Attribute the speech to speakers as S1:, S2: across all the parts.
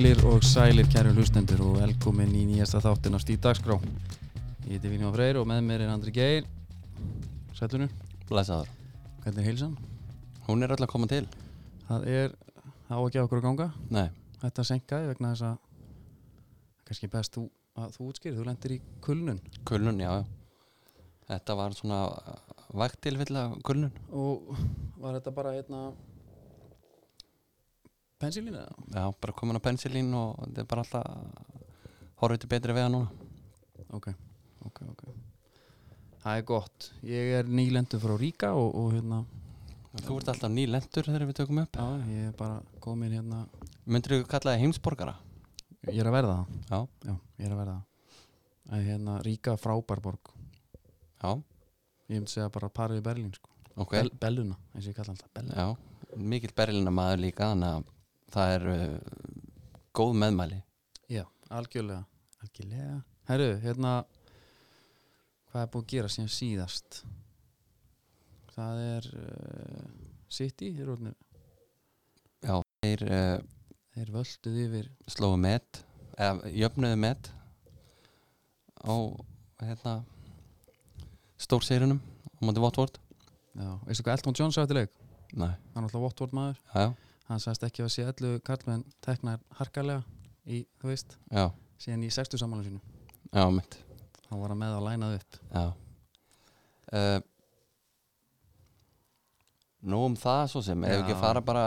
S1: sælir kæru hlustendur og velkomin í nýjasta þáttin af Stíð Dagskrá. Ég heiti Vinjó Freyr og með mér er Andri Geir. Sætlunur,
S2: Blæsaður.
S1: hvernig er heilsan?
S2: Hún er öll að koma til.
S1: Það er, það á ekki á okkur að ganga.
S2: Nei.
S1: Þetta senkaði vegna þess að, kannski best þú, að þú útskýrið, þú lendir í kulnun
S2: Kulnun, já, já. Þetta var svona uh, vægt tilfell af kulnun.
S1: og var þetta bara hérna pensilín eða?
S2: Já, bara komin á pensilín og þetta er bara alltaf horfið til betri vega núna.
S1: Ok, ok, ok. Það er gott. Ég er nýlendur frá Ríka og, og hérna,
S2: Þú ert alltaf nýlendur þegar við tökum upp.
S1: já, ég er bara komin hérna,
S2: Myndir þú kalla það heimsborgara?
S1: ég er að verða það.
S2: Já.
S1: Já, ég er að verða það En hérna, ríka frábær borg
S2: Já,
S1: Ég myndi segja bara parið í Berlín sko.
S2: ok.
S1: Bell, Belluna, eins og ég kalla alltaf Belluna
S2: Já, mikill berlina maður líka, þannig að það er uh, góð meðmæli.
S1: Já, algjörlega Algjörlega Herru, hérna Hvað er búið að gera síðan síðast? Það er uh, City, þeir, orðnir,
S2: Já, þeir uh,
S1: þeir völduð yfir
S2: slóðu met, eða jöfnuðu met á hérna stórsýrunum á móti Votvort
S1: Já, veistu hvað Elton John sagði til leik?
S2: Nei,
S1: Hann er alltaf Watford maður
S2: já, já,
S1: Hann sagðist ekki að sé allu karlmenn teknar harkalega í, þú veist,
S2: já,
S1: síðan í 60 samanlega sínu
S2: já, mitt
S1: Þá var hann með að lænað upp
S2: já uh, Nú um það svo sem, ef ekki
S1: Já.
S2: að fara bara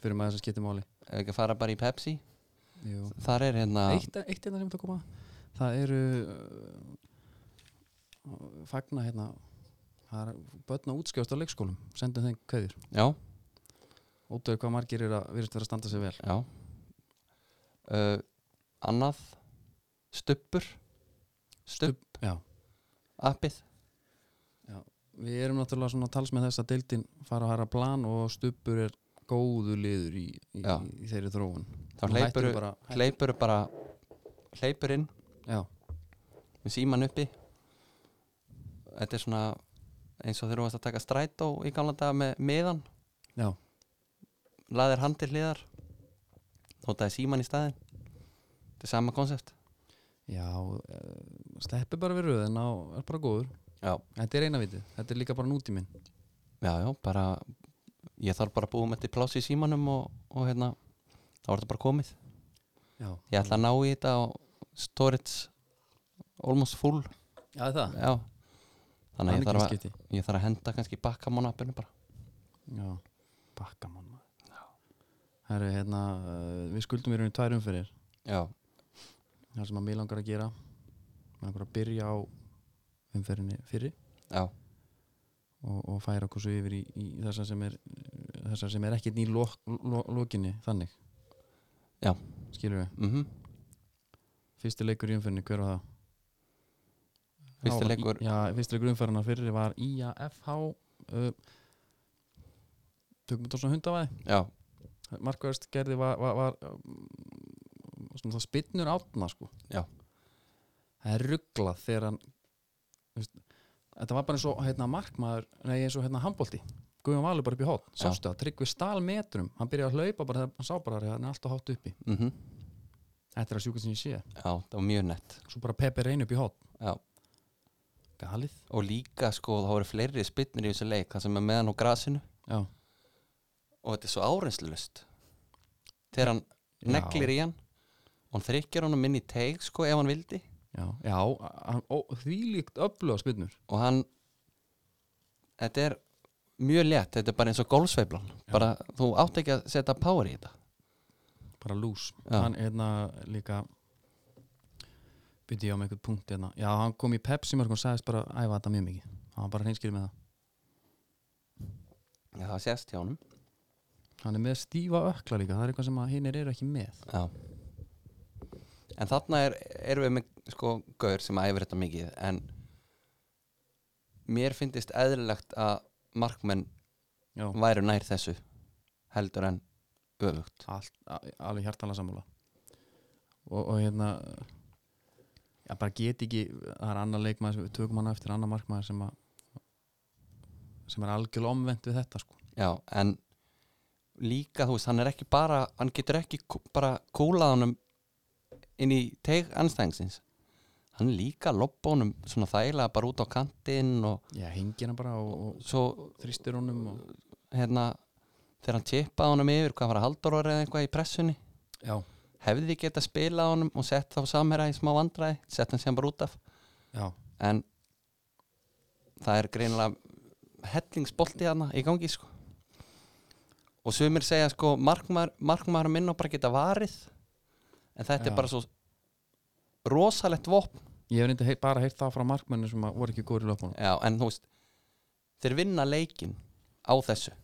S1: fyrir maður sem skiptir máli
S2: ef ekki að fara bara í Pepsi
S1: Jú.
S2: þar er hérna,
S1: eitt, eitt hérna sem þetta koma það eru uh, fagna hérna það er börn að útskjást á leikskólum sendum þeim kveðir
S2: já,
S1: ótrúið hvað margir er að virðist vera að standa sig vel
S2: já uh, annað stuppur stupp,
S1: já.
S2: appið
S1: við erum náttúrulega svona tals með þess að deildin fara að hæra plan og stupur er góðu liður í, í,
S2: Já.
S1: í þeirri þróun
S2: þá
S1: Hún hættir
S2: hleypur
S1: bara,
S2: hleypur bara hleypur inn
S1: já,
S2: með síman uppi þetta er svona eins og þegar þú varst að taka strætó í gamla daga með miðan
S1: já,
S2: laðir hann til hliðar notaði síman í staðin þetta er sama konsept
S1: já uh, sleppi bara við röðin á, er bara góður
S2: já,
S1: þetta er eina vitið, þetta er líka bara nútíminn
S2: já, já, bara ég þarf bara að búa með þetta pláss í símanum og, og hérna, þá er þetta bara komið
S1: já,
S2: ég ætla að ná í þetta á storage almost full
S1: já er það,
S2: já, þannig að ég þarf að,
S1: skipti
S2: ég þarf að henda kannski bakkamon appinu bara
S1: Já, bakkamann maður Herru, hérna, uh, við skuldum í rauninni tvær umferðir
S2: já,
S1: Það sem að mér langar að gera Mér langar að byrja á umferðinni fyrri
S2: já,
S1: og, og færa okkur svo yfir í, í þessa sem er þessa sem er ekkert ný lok, lo, lokinni þannig
S2: Já.
S1: Skilur við,
S2: mhm
S1: fyrsti leikur í umferðinni, hver var það?
S2: Fyrsti
S1: Það var
S2: leikur-
S1: í, Já, fyrsti leikur umferðina fyrri var IAFH uh, Tökum þetta svona hundavæði
S2: Já,
S1: markverðst gerði var, var, var um, svona það spinnur átna sko
S2: Já.
S1: það er rugglað þegar hann þú veist, þetta var bara eins og hérna markmaður, nei eins og hérna handbólti Guðjón Valur bara upp í hótt,
S2: Já.
S1: sástu það Tryggvi stal metrum, hann byrjaði að hlaupa bara þegar hann sá bara að hann er alltaf hátt uppi
S2: mm
S1: þetta er að sjúkast sem ég sé,
S2: já, það var mjög nett
S1: svo bara Pepe reyn upp í hótt
S2: já.
S1: galið,
S2: Og líka sko, þá eru fleiri spinnir í þessu leik Það sem er meðan á grasinu
S1: já,
S2: Og þetta er svo áreynslulust Þegar hann neglir í hann Og hann þrykkjar honum inn í teig sko, ef hann vildi
S1: já, já hann, ó, þvílíkt öfluga spinnur
S2: Og hann Þetta er mjög létt Þetta er bara eins og golfsveiflan bara, Þú átt ekki að setja power í þetta
S1: bara lús
S2: Já.
S1: hann hérna líka byrja ég á með einhvern punkt hérna já, hann kom í Pepsi mörg og sagðist bara að æfa þetta mjög mikið hann var bara hreinskilið með það
S2: Já, það sést hjá honum
S1: hann er með stífa ökla líka, það er eitthvað sem að hinnir eru ekki með
S2: Já En þarna er, erum við með sko gaur sem æfir þetta mikið en mér finnist eðlilegt að markmenn
S1: já,
S2: væru nær þessu heldur en öfugt
S1: allt, a- alveg hjartalega sammála og, og hérna já, bara get ekki það er annar leikmaður, sem- við tökum hann eftir annar markmaður sem að sem er algjörlega omvend við þetta sko
S2: Já, en líka þú veist, hann er ekki bara hann getur ekki kú- bara kúlað honum inn í teig anstæðingsins hann líka loppa honum svona þægilega bara út á kantinn og
S1: já, hengina hérna bara og,
S2: svo
S1: og þrýstir honum og,
S2: hérna þegar hann tippaði honum yfir hvað var að haldur eða eitthvað í pressunni
S1: já,
S2: hefði getað spilað honum og sett þá samherra í smá vandræði sett hann sem bara út af
S1: já,
S2: en það er greinilega hellingsbolti hana í gangi sko. og sumir segja sko markmaður, markmaður minn og bara geta varið en þetta
S1: Já.
S2: er bara svo rosalegt vopn
S1: ég hef reynda bara heyrt það frá markmennu sem að voru ekki góður í löpunum
S2: Já, en þú veist þeir vinna leikin á þessu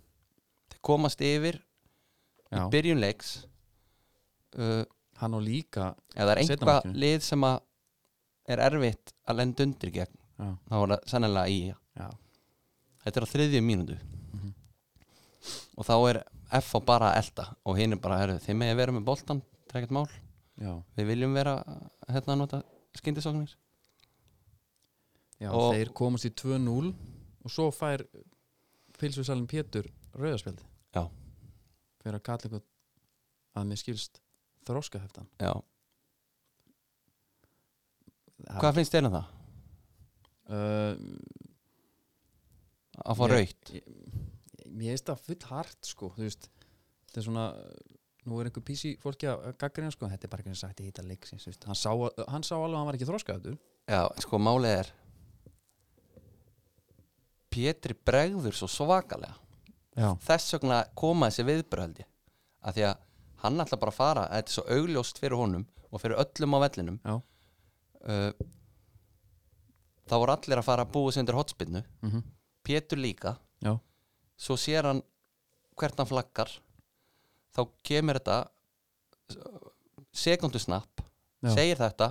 S2: þeir komast yfir í
S1: já,
S2: byrjun leiks uh,
S1: hann og líka
S2: ef það er
S1: Seinna
S2: einhvað
S1: markinu.
S2: lið sem að er erfitt að lenda undir gegn
S1: já,
S2: þá var það sannlega í
S1: já,
S2: þetta er á þriðju mínútu
S1: Mhm.
S2: og þá er F á bara að elta og hinn er bara, herru, þið með að vera með boltan trekkert mál,
S1: já,
S2: við viljum vera hérna að nota skyndisóknir
S1: já
S2: Og-
S1: þeir komast í 2-0 og svo fær pilsusalinn Pétur rauðarspjaldi
S2: Já.
S1: fyrir að kalla eitthvað að mér skilst þróska heftan
S2: Já, hvað finnst þér um það?
S1: uh,
S2: Að fá
S1: Ég-
S2: raukt?
S1: ég, ég veist það full hart sko þú veist, þetta er svona nú er einhver písi fólki að gaggrina sko þetta er bara einhvern sagt í hýta leiksins þú veist. hann sá, hann sá alveg að hann var ekki þróskaður
S2: Já, sko málið er Pétri bregður svo svakalega
S1: já,
S2: þess vegna koma þessi viðbröðaldi að því að hann ætla bara að fara að þetta er svo augljóst fyrir honum og fyrir öllum á vellinum
S1: Já.
S2: uh, þá voru allir að fara að búa sig undir hotspinnu
S1: mm
S2: Pétur líka
S1: já,
S2: svo sér hann hvert hann flaggar þá kemur þetta sekundusnapp
S1: Já.
S2: segir þetta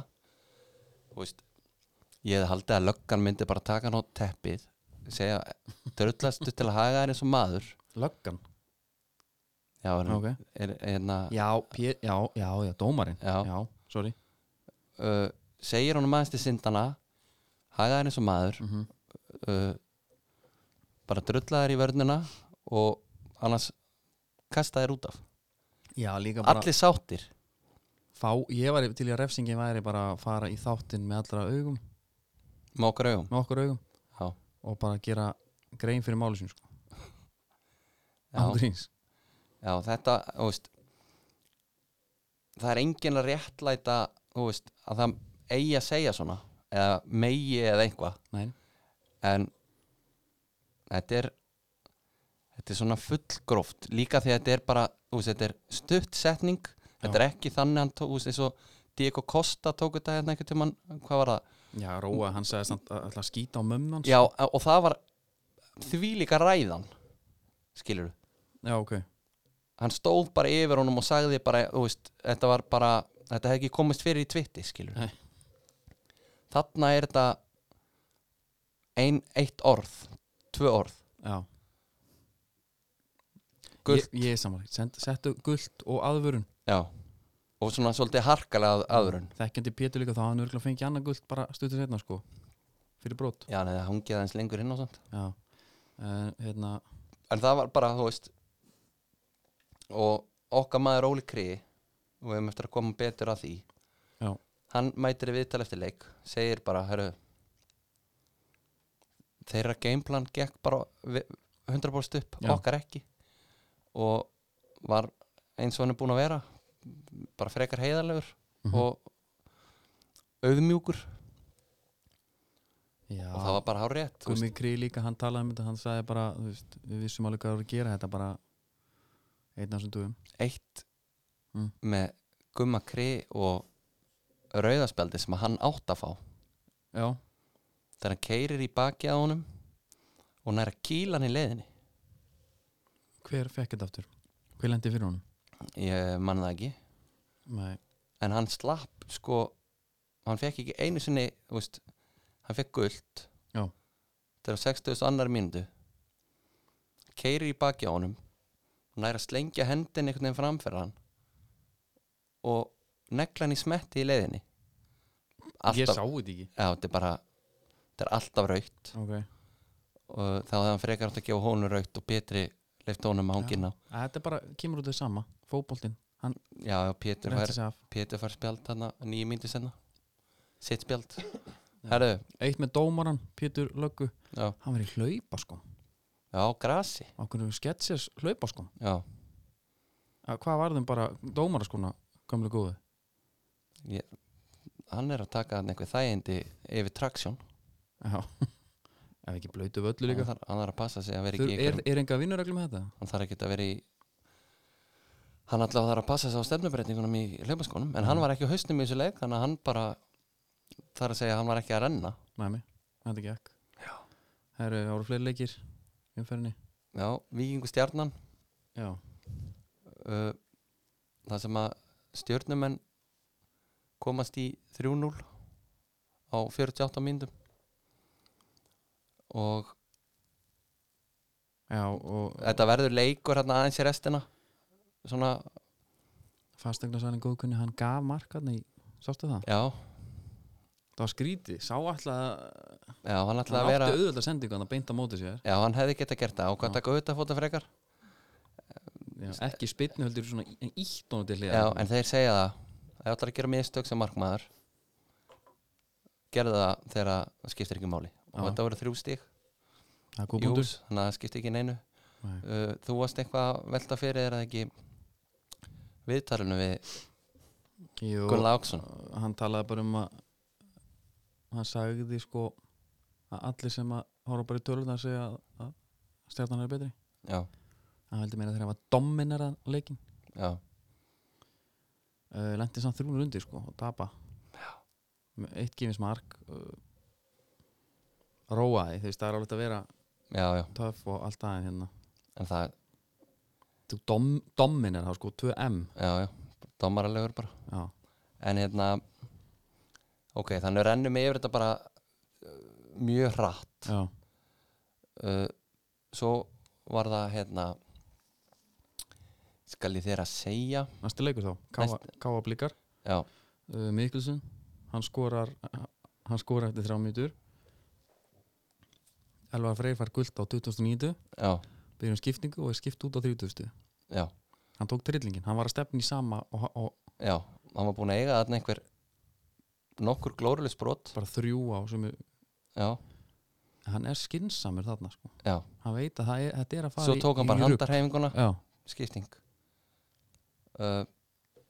S2: Þú veist, ég hefði haldið að löggan myndi bara taka hann á teppið segja, dröllastu til að haga þér eins og maður
S1: löggan
S2: já, er,
S1: ok.
S2: er, hérna,
S1: já, pé, já, já, já, dómarinn
S2: Já.
S1: já sorry
S2: uh, segir honum aðeins til syndana haga þær eins og maður
S1: mm
S2: uh, bara drulla þær í vörnina og annars kasta þær út af
S1: já, líka bara
S2: allir sáttir
S1: fá, ég var til í að refsingin væri bara að fara í þáttinn með allra augum
S2: með okkar augum
S1: með okkur augum
S2: Já.
S1: og bara gera grein fyrir máli sín sko
S2: Já.
S1: ángríns
S2: Já, þetta, þú veist það er engin að réttlæta þú veist, að það eigi að segja svona eða megi eða eitthvað
S1: Nei.
S2: en þetta er þetta er svona fullgróft líka því að þetta er bara, þú veist, þetta er stutt setning, þetta er ekki þannig hann, tó- þú veist, eins og Diego Costa tók þetta hérna einhvern tímann, hvað var það?
S1: já, Róa, hann sagði samt að ætla að skýta á mömmu hans
S2: Já, og það var þvílíka ræðan skilur
S1: já, ok
S2: hann stóð bara yfir honum og sagði bara, þú veist, þetta var bara þetta hefði ekki komist fyrir í tvitti, skilur
S1: Nei.
S2: þarna er þetta ein, eitt orð tvö orð
S1: já
S2: Gult.
S1: Ég, ég er samanlega, Send, settu gult og aðvörun
S2: já. og svona svolítið harkalega að, aðrun
S1: Þekkjandi Pétur líka þá hafði hann örgulega fengið annað gult bara stuttur setna sko Fyrir brot
S2: já, nei, það hangið aðeins lengur inn og svona
S1: Já, uh, hérna,
S2: en það var bara, þú veist og okkar maður Óli Kri og við hefum eftir að koma betur að því
S1: Já.
S2: hann mætir í viðtal eftir leik segir bara, herru þeirra gameplan gekk bara vi- 100% upp,
S1: Já.
S2: okkar ekki og var eins og hann er búin að vera bara frekar heiðarlegur
S1: Mhm.
S2: og auðmjúkur
S1: já
S2: og það var bara hár rétt
S1: Gummi Krí líka, hann talaði um þetta, hann sagði bara, þú veist, við vissum alveg hvað það voru að gera þetta bara einn af þessum dugum.
S2: eitt
S1: Mm.
S2: með Gumma Kri og rauðaspjaldi sem að hann átt að fá
S1: Já,
S2: þegar hann keirir í baki á honum og hann er að kýla hann í leiðinni
S1: hver fekk þetta aftur? Hver lendi fyrir honum?
S2: ég manna það ekki
S1: Nei,
S2: en hann slapp sko hann fekk ekki einu sinni þú veist, hann fekk gult
S1: Já.
S2: þegar á 60. annar mínútu keirir í baki á honum hann er að slengja hendin einhvern veginn framfyrir hann og negla hann í smetti í leiðinni
S1: ég
S2: alltaf,
S1: sá þetta ekki.
S2: já, þetta er bara þetta er alltaf raukt
S1: Ok,
S2: og þá hefði hann frekar átt að gefa honum raukt og Petri leifti honum að
S1: Já.
S2: hangin á
S1: Að þetta bara kemur út af því sama, fótboltinn,
S2: já, já, Pétur
S1: Rétti
S2: fær,
S1: sig af.
S2: Pétur fær spjald þarna nýju myndi senna sitt spjald herru,
S1: Eitt með dómaran, Pétur Löggu
S2: já,
S1: Hann var í hlaupaskum,
S2: já, grasi
S1: okkur sketsir hlaupaskum
S2: já,
S1: Að sko. Hvað var þeim bara dómaraskona gömlu góðu?
S2: ég, hann er að taka hann einhver þægindi yfir traksjón
S1: Já, ef ekki blöytu völlu
S2: hann
S1: líka
S2: þarf hann þarf að passa sig að vera
S1: Þur,
S2: ekki í
S1: Er,
S2: einhverjum
S1: er enga vinnureglum með þetta?
S2: hann þarf ekki að vera í hann allavega þarf að passa sig á stefnubretningunum í hlaupaskónum en hann var ekki á hausnum í þessu leik þannig að hann bara þarf að segja að hann var ekki að renna
S1: Nei, mig, þetta gekk Það eru ára fleiri leikir í umferðinni
S2: já, vikingu stjarnan
S1: Já,
S2: uh, það sem að stjörnumenn komast í 3-0 á 48 myndum og
S1: já og
S2: þetta verður leikur hérna aðeins í restina svona,
S1: fastegna sælinn góðkunni hann gaf markarni í Sástu það?
S2: já,
S1: Það var skrítið, sá alltaf að
S2: já hann ætlaði
S1: hann
S2: að vera
S1: átti auðvitað sendingu hann að beinta móti sér
S2: já, hann hefði geta gert það og hvað taka auðvitað fóta frekar
S1: já, ekki spilni heldur svona ítt honum til
S2: Já,
S1: hliðar
S2: en þeir segja það Það ætlar að gera mistök sem markmaður Gerðu það þegar það skiptir ekki máli Og
S1: Já.
S2: þetta voru þrjú stík
S1: það er góðbundur
S2: Þannig að það skiptir ekki neinu
S1: Nei.
S2: uh, Þú varst eitthvað að velta fyrir þér að ekki Viðtalinu við
S1: Jú,
S2: Gunnar Áksson
S1: hann talaði bara um að hann sagði sko að allir sem að horfa bara í tölunar segja að, að stjarnan er betri
S2: Já,
S1: hann heldur meira þegar hann var dominera leikin
S2: já,
S1: uh, lendi samt þrjúnur undir sko og tapa Með eitt gefins mark uh, róaði þú veist það er alveg að vera
S2: já, já
S1: töff og allt aðeins hérna
S2: En það,
S1: þú dom, dominera sko 2M
S2: já, já Dómaralegur bara
S1: já,
S2: En hérna Ok, þannig rennum við yfir þetta bara uh, Mjög hratt
S1: já,
S2: uh, svo var það hérna skal ég þér að segja
S1: næsti leikur þá Káa- Káa blikar
S2: já,
S1: uh, Mikkelsen hann skorar hann skorar eftir þrjá mínútur Elvar Freyr fær gult á 2009
S2: já,
S1: byrjum skiptingu og er skipt út á 30
S2: já,
S1: hann tók trillingin, hann var að stefna í sama og, og
S2: já hann var búin að eiga þarna einhver nokkur glórulis brot
S1: bara þrjú á sem er,
S2: já,
S1: hann er skinsamur þarna sko.
S2: já,
S1: hann veit að það er, þetta er að fara
S2: svo tók hann bara
S1: rugl.
S2: handarhefinguna
S1: já,
S2: skipting uh,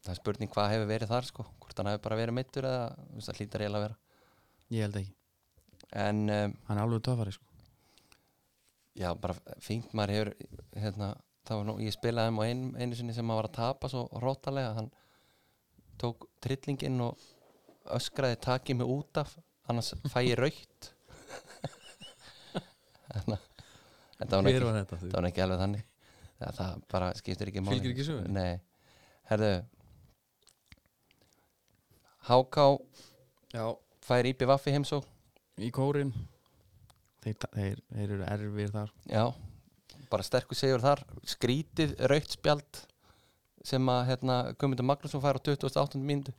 S2: það er spurning hvað hefur verið þar sko, hvort hann hefur bara verið meittur eða þú veist, það hlýtar eiginlega að
S1: ég held ekki,
S2: vera en um,
S1: hann er alveg töfari sko.
S2: já, bara fínt maður hefur hérna, það var nú, ég spilaði um á ein, einu sinni sem maður var að tapa svo róttalega hann tók trillinginn og öskraði takið mig út af annars fæ ég raukt þannig að þetta var nú
S1: hver
S2: ekki,
S1: var þetta
S2: þetta var nú ekki alveg þannig það, það bara skiptir ekki máli
S1: Fylgir ekki sögunni?
S2: Nei, herðu Háká
S1: já,
S2: fær íbjöf affi heimsó
S1: í kórin þeir, ta- þeir, þeir eru erfir þar
S2: Já, bara sterkur segjur þar skrítið raukt spjald sem að hérna, Guðmundur Magnússon fær á 28. mínútu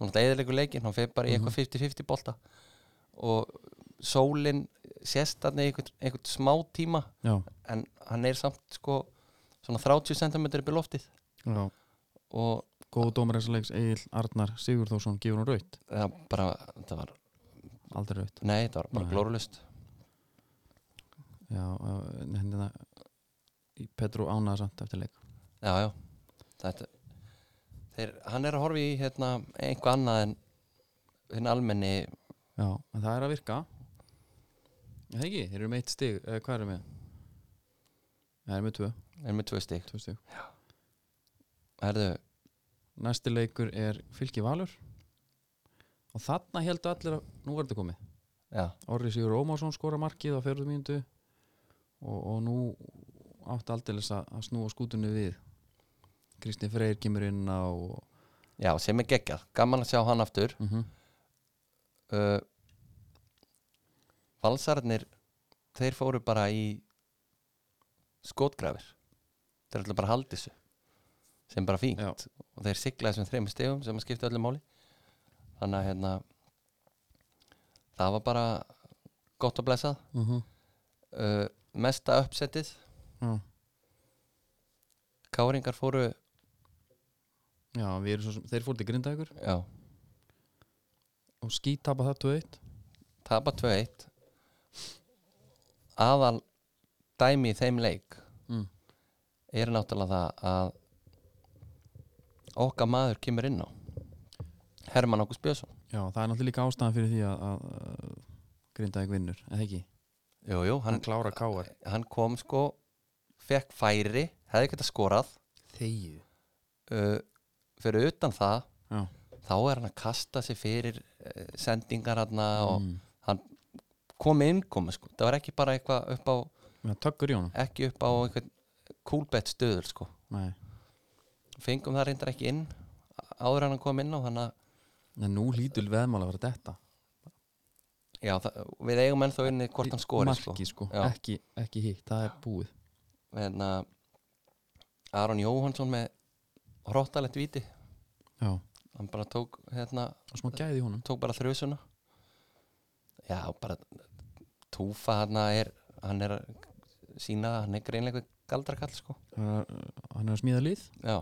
S2: hún er eðilegu leikinn, hann fer bara í
S1: Mhm.
S2: eitthvað 50-50 bolta og sólin sést þarna í einhvern, einhvern smá tíma
S1: já,
S2: en hann er samt sko svona 30 cm upp í loftið
S1: já.
S2: og
S1: góðu dómar þessa leiks Egil Arnar Sigurþórsson gefur hún raut,
S2: það bara, það var,
S1: aldrei raut
S2: nei, það var bara
S1: Nei.
S2: glórulust
S1: já, eh, en hérna í Petru ánaða samt eftir leik
S2: Já, já Þetta, þeir, hann er að horfa í hérna, einhvað annað en hinn almenni
S1: já, en það er að virka Er það ekki, þeir eru með eitt stig eh, hvað eru með? það eru með tvö,
S2: er með tvö stík
S1: tvö stig
S2: Herðu,
S1: Næsti leikur er Fylki Valur og þarna heldur allir að nú var þetta komið.
S2: já,
S1: Orri Sigur Ómarsson skora markið á fjörðu mínútu og, og nú átti aldeilis að, að snúa skútunni við Kristi Freyr kemur inn á og,
S2: já, sem er geggjað Gaman að sjá hann aftur
S1: uh
S2: uh, Valsarnir Þeir fóru bara í skotgrafir Þeir ætla bara að haldi þessu sem bara fín
S1: Já,
S2: og þeir sigla þessum þreim stegum sem að skipta öllu máli þannig að hérna það var bara gott að blessað
S1: uh
S2: uh, mesta uppsettið
S1: já,
S2: Káringar fóru
S1: já, við erum svo sem, þeir fóru til grindaðugur
S2: já,
S1: og skítapa það 2-1
S2: tapa 2-1 aðal dæmi í þeim leik
S1: mm.
S2: er náttúrulega það að okkar maður kemur inn á Herman Ákus Björnsson
S1: já, það er náttúrulega líka ástæðan fyrir því að, að, að grindaðug vinnur, eða ekki
S2: jú, jú, hann,
S1: klára káar
S2: hann kom sko fekk færi, hefði geta skorað
S1: þegið
S2: uh, fyrir utan það
S1: já,
S2: þá er hann að kasta sig fyrir uh, sendingar hann og
S1: mm.
S2: komi innkomi sko. það var ekki bara eitthvað upp á
S1: já tökkur í honum
S2: ekki upp á eitthvað coolbett stöðul sko.
S1: nei,
S2: fengum það reyndar ekki inn áður en hann kom inn á hann að
S1: en nú hlýtul veðmál að vera detta
S2: já, það, við eigum ennþá inni hvort hann skori sko.
S1: marki sko,
S2: Já.
S1: ekki, ekki hitt, það er búið
S2: en að Aron Jóhansson með hróttalegt viti
S1: já,
S2: hann bara tók, hérna,
S1: og smá gæði í honum
S2: tók bara þrjusuna já, bara Túfa hann er hann er að sína hann er greinlega galdrakall sko
S1: hann er að- hann er að smíða lið
S2: já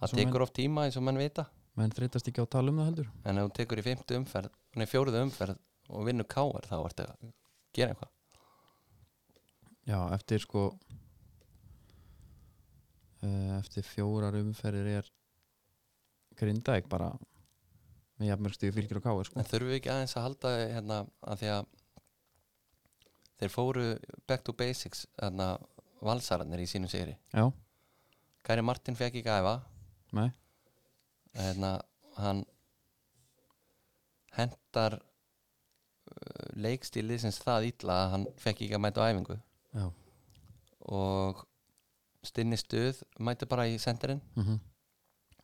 S2: það
S1: Svo
S2: tekur oft tíma eins og menn vita
S1: menn þreytast ekki á að tala um það heldur
S2: en ef þú tekur í fymtu umferð nei, fjóruðu umferð og vinnur káar þá ertu að gera eitthvað
S1: já, eftir sko eh, eftir fjórar umferðir er Grindavík bara með jafnmörg stíðu fylgir og káir sko
S2: en þurfum við ekki aðeins að halda hérna að því að þeir fóru back to basics hérna valsararnir í sínum sigri
S1: já,
S2: Kæri Martin fekk ekki æfa
S1: nei,
S2: hérna, hann hendar uh, leikstíli sinns það illa að hann fekk ekki að mæta á æfingu
S1: já
S2: og stinni stuð mæta bara í senderinn
S1: mm -hmm.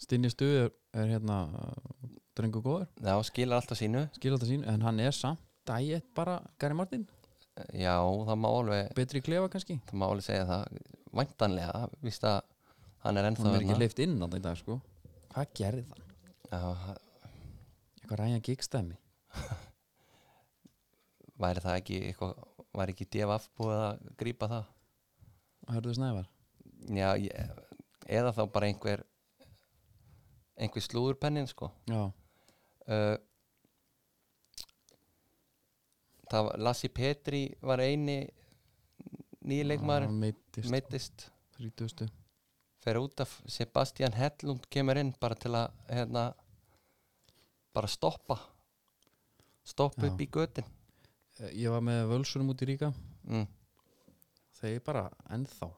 S1: Stinni Stuð er, er hérna eh, drengur góður,
S2: þá skilar alltaf sínu
S1: skil þetta sín en hann er samt dæið bara Gary Martin,
S2: já, það má alveg,
S1: betri í klefa kannski
S2: það má alveg segja það væntanlega, víst að hann er
S1: hann
S2: ennþá hérna.
S1: er ekki
S2: þarna.
S1: leift inn þarna í dag sko hvað gerði það?
S2: já,
S1: eitthvað ræja gigstæmi
S2: væri það ekki eitthvað, væri ekki DFF búið að grípa það
S1: hörðu snævar
S2: já, ég, eða þá bara einhver einhver slúðurpennin sko
S1: já,
S2: uh, það var Lassi Petri var eini nýja leikmaður
S1: hann meittist
S2: meittist,
S1: þrítustu
S2: fer út af Sebastian Hellund kemur inn bara til að hérna, bara stoppa stoppa
S1: Já.
S2: upp í götin
S1: Eh, ég var með völsunum út í ríka
S2: mm.
S1: þeir bara ennþá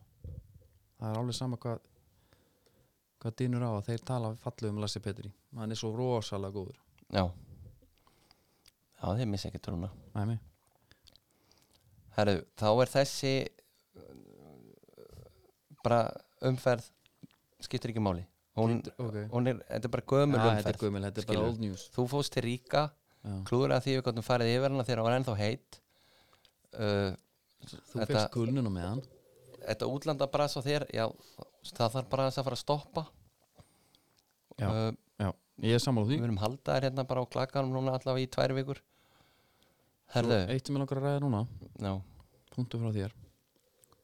S1: það er alveg sama hvað hvað dýnur á að þeir tala fallu um Lassi Petri hann er svo rosalega góður
S2: já já, þeir missa ekki trúna
S1: Æmi.
S2: Herru, þá er þessi uh, bara umferð skiptir ekki máli hún,
S1: okay.
S2: hún er, þetta er bara gömul
S1: ja, þetta er
S2: umferð
S1: gömul, þetta er bara
S2: skilurðu.
S1: old news
S2: þú fóst til Ríka
S1: já.
S2: klúður að því við gotum farið yfir hana þegar hún var ennþá heit uh,
S1: þú
S2: Þetta-
S1: fegst kulnuna með hann
S2: þetta útlanda bras á þér já, það þarf bara aðeins að fara að stoppa
S1: Já.
S2: uh,
S1: já. ég er sammála því
S2: við erum haldaðir hérna bara á klakkanum núna allavega í tvær vikur
S1: Svo
S2: herðu
S1: eitt sem ég langar að ræða núna
S2: já,
S1: punktu frá þér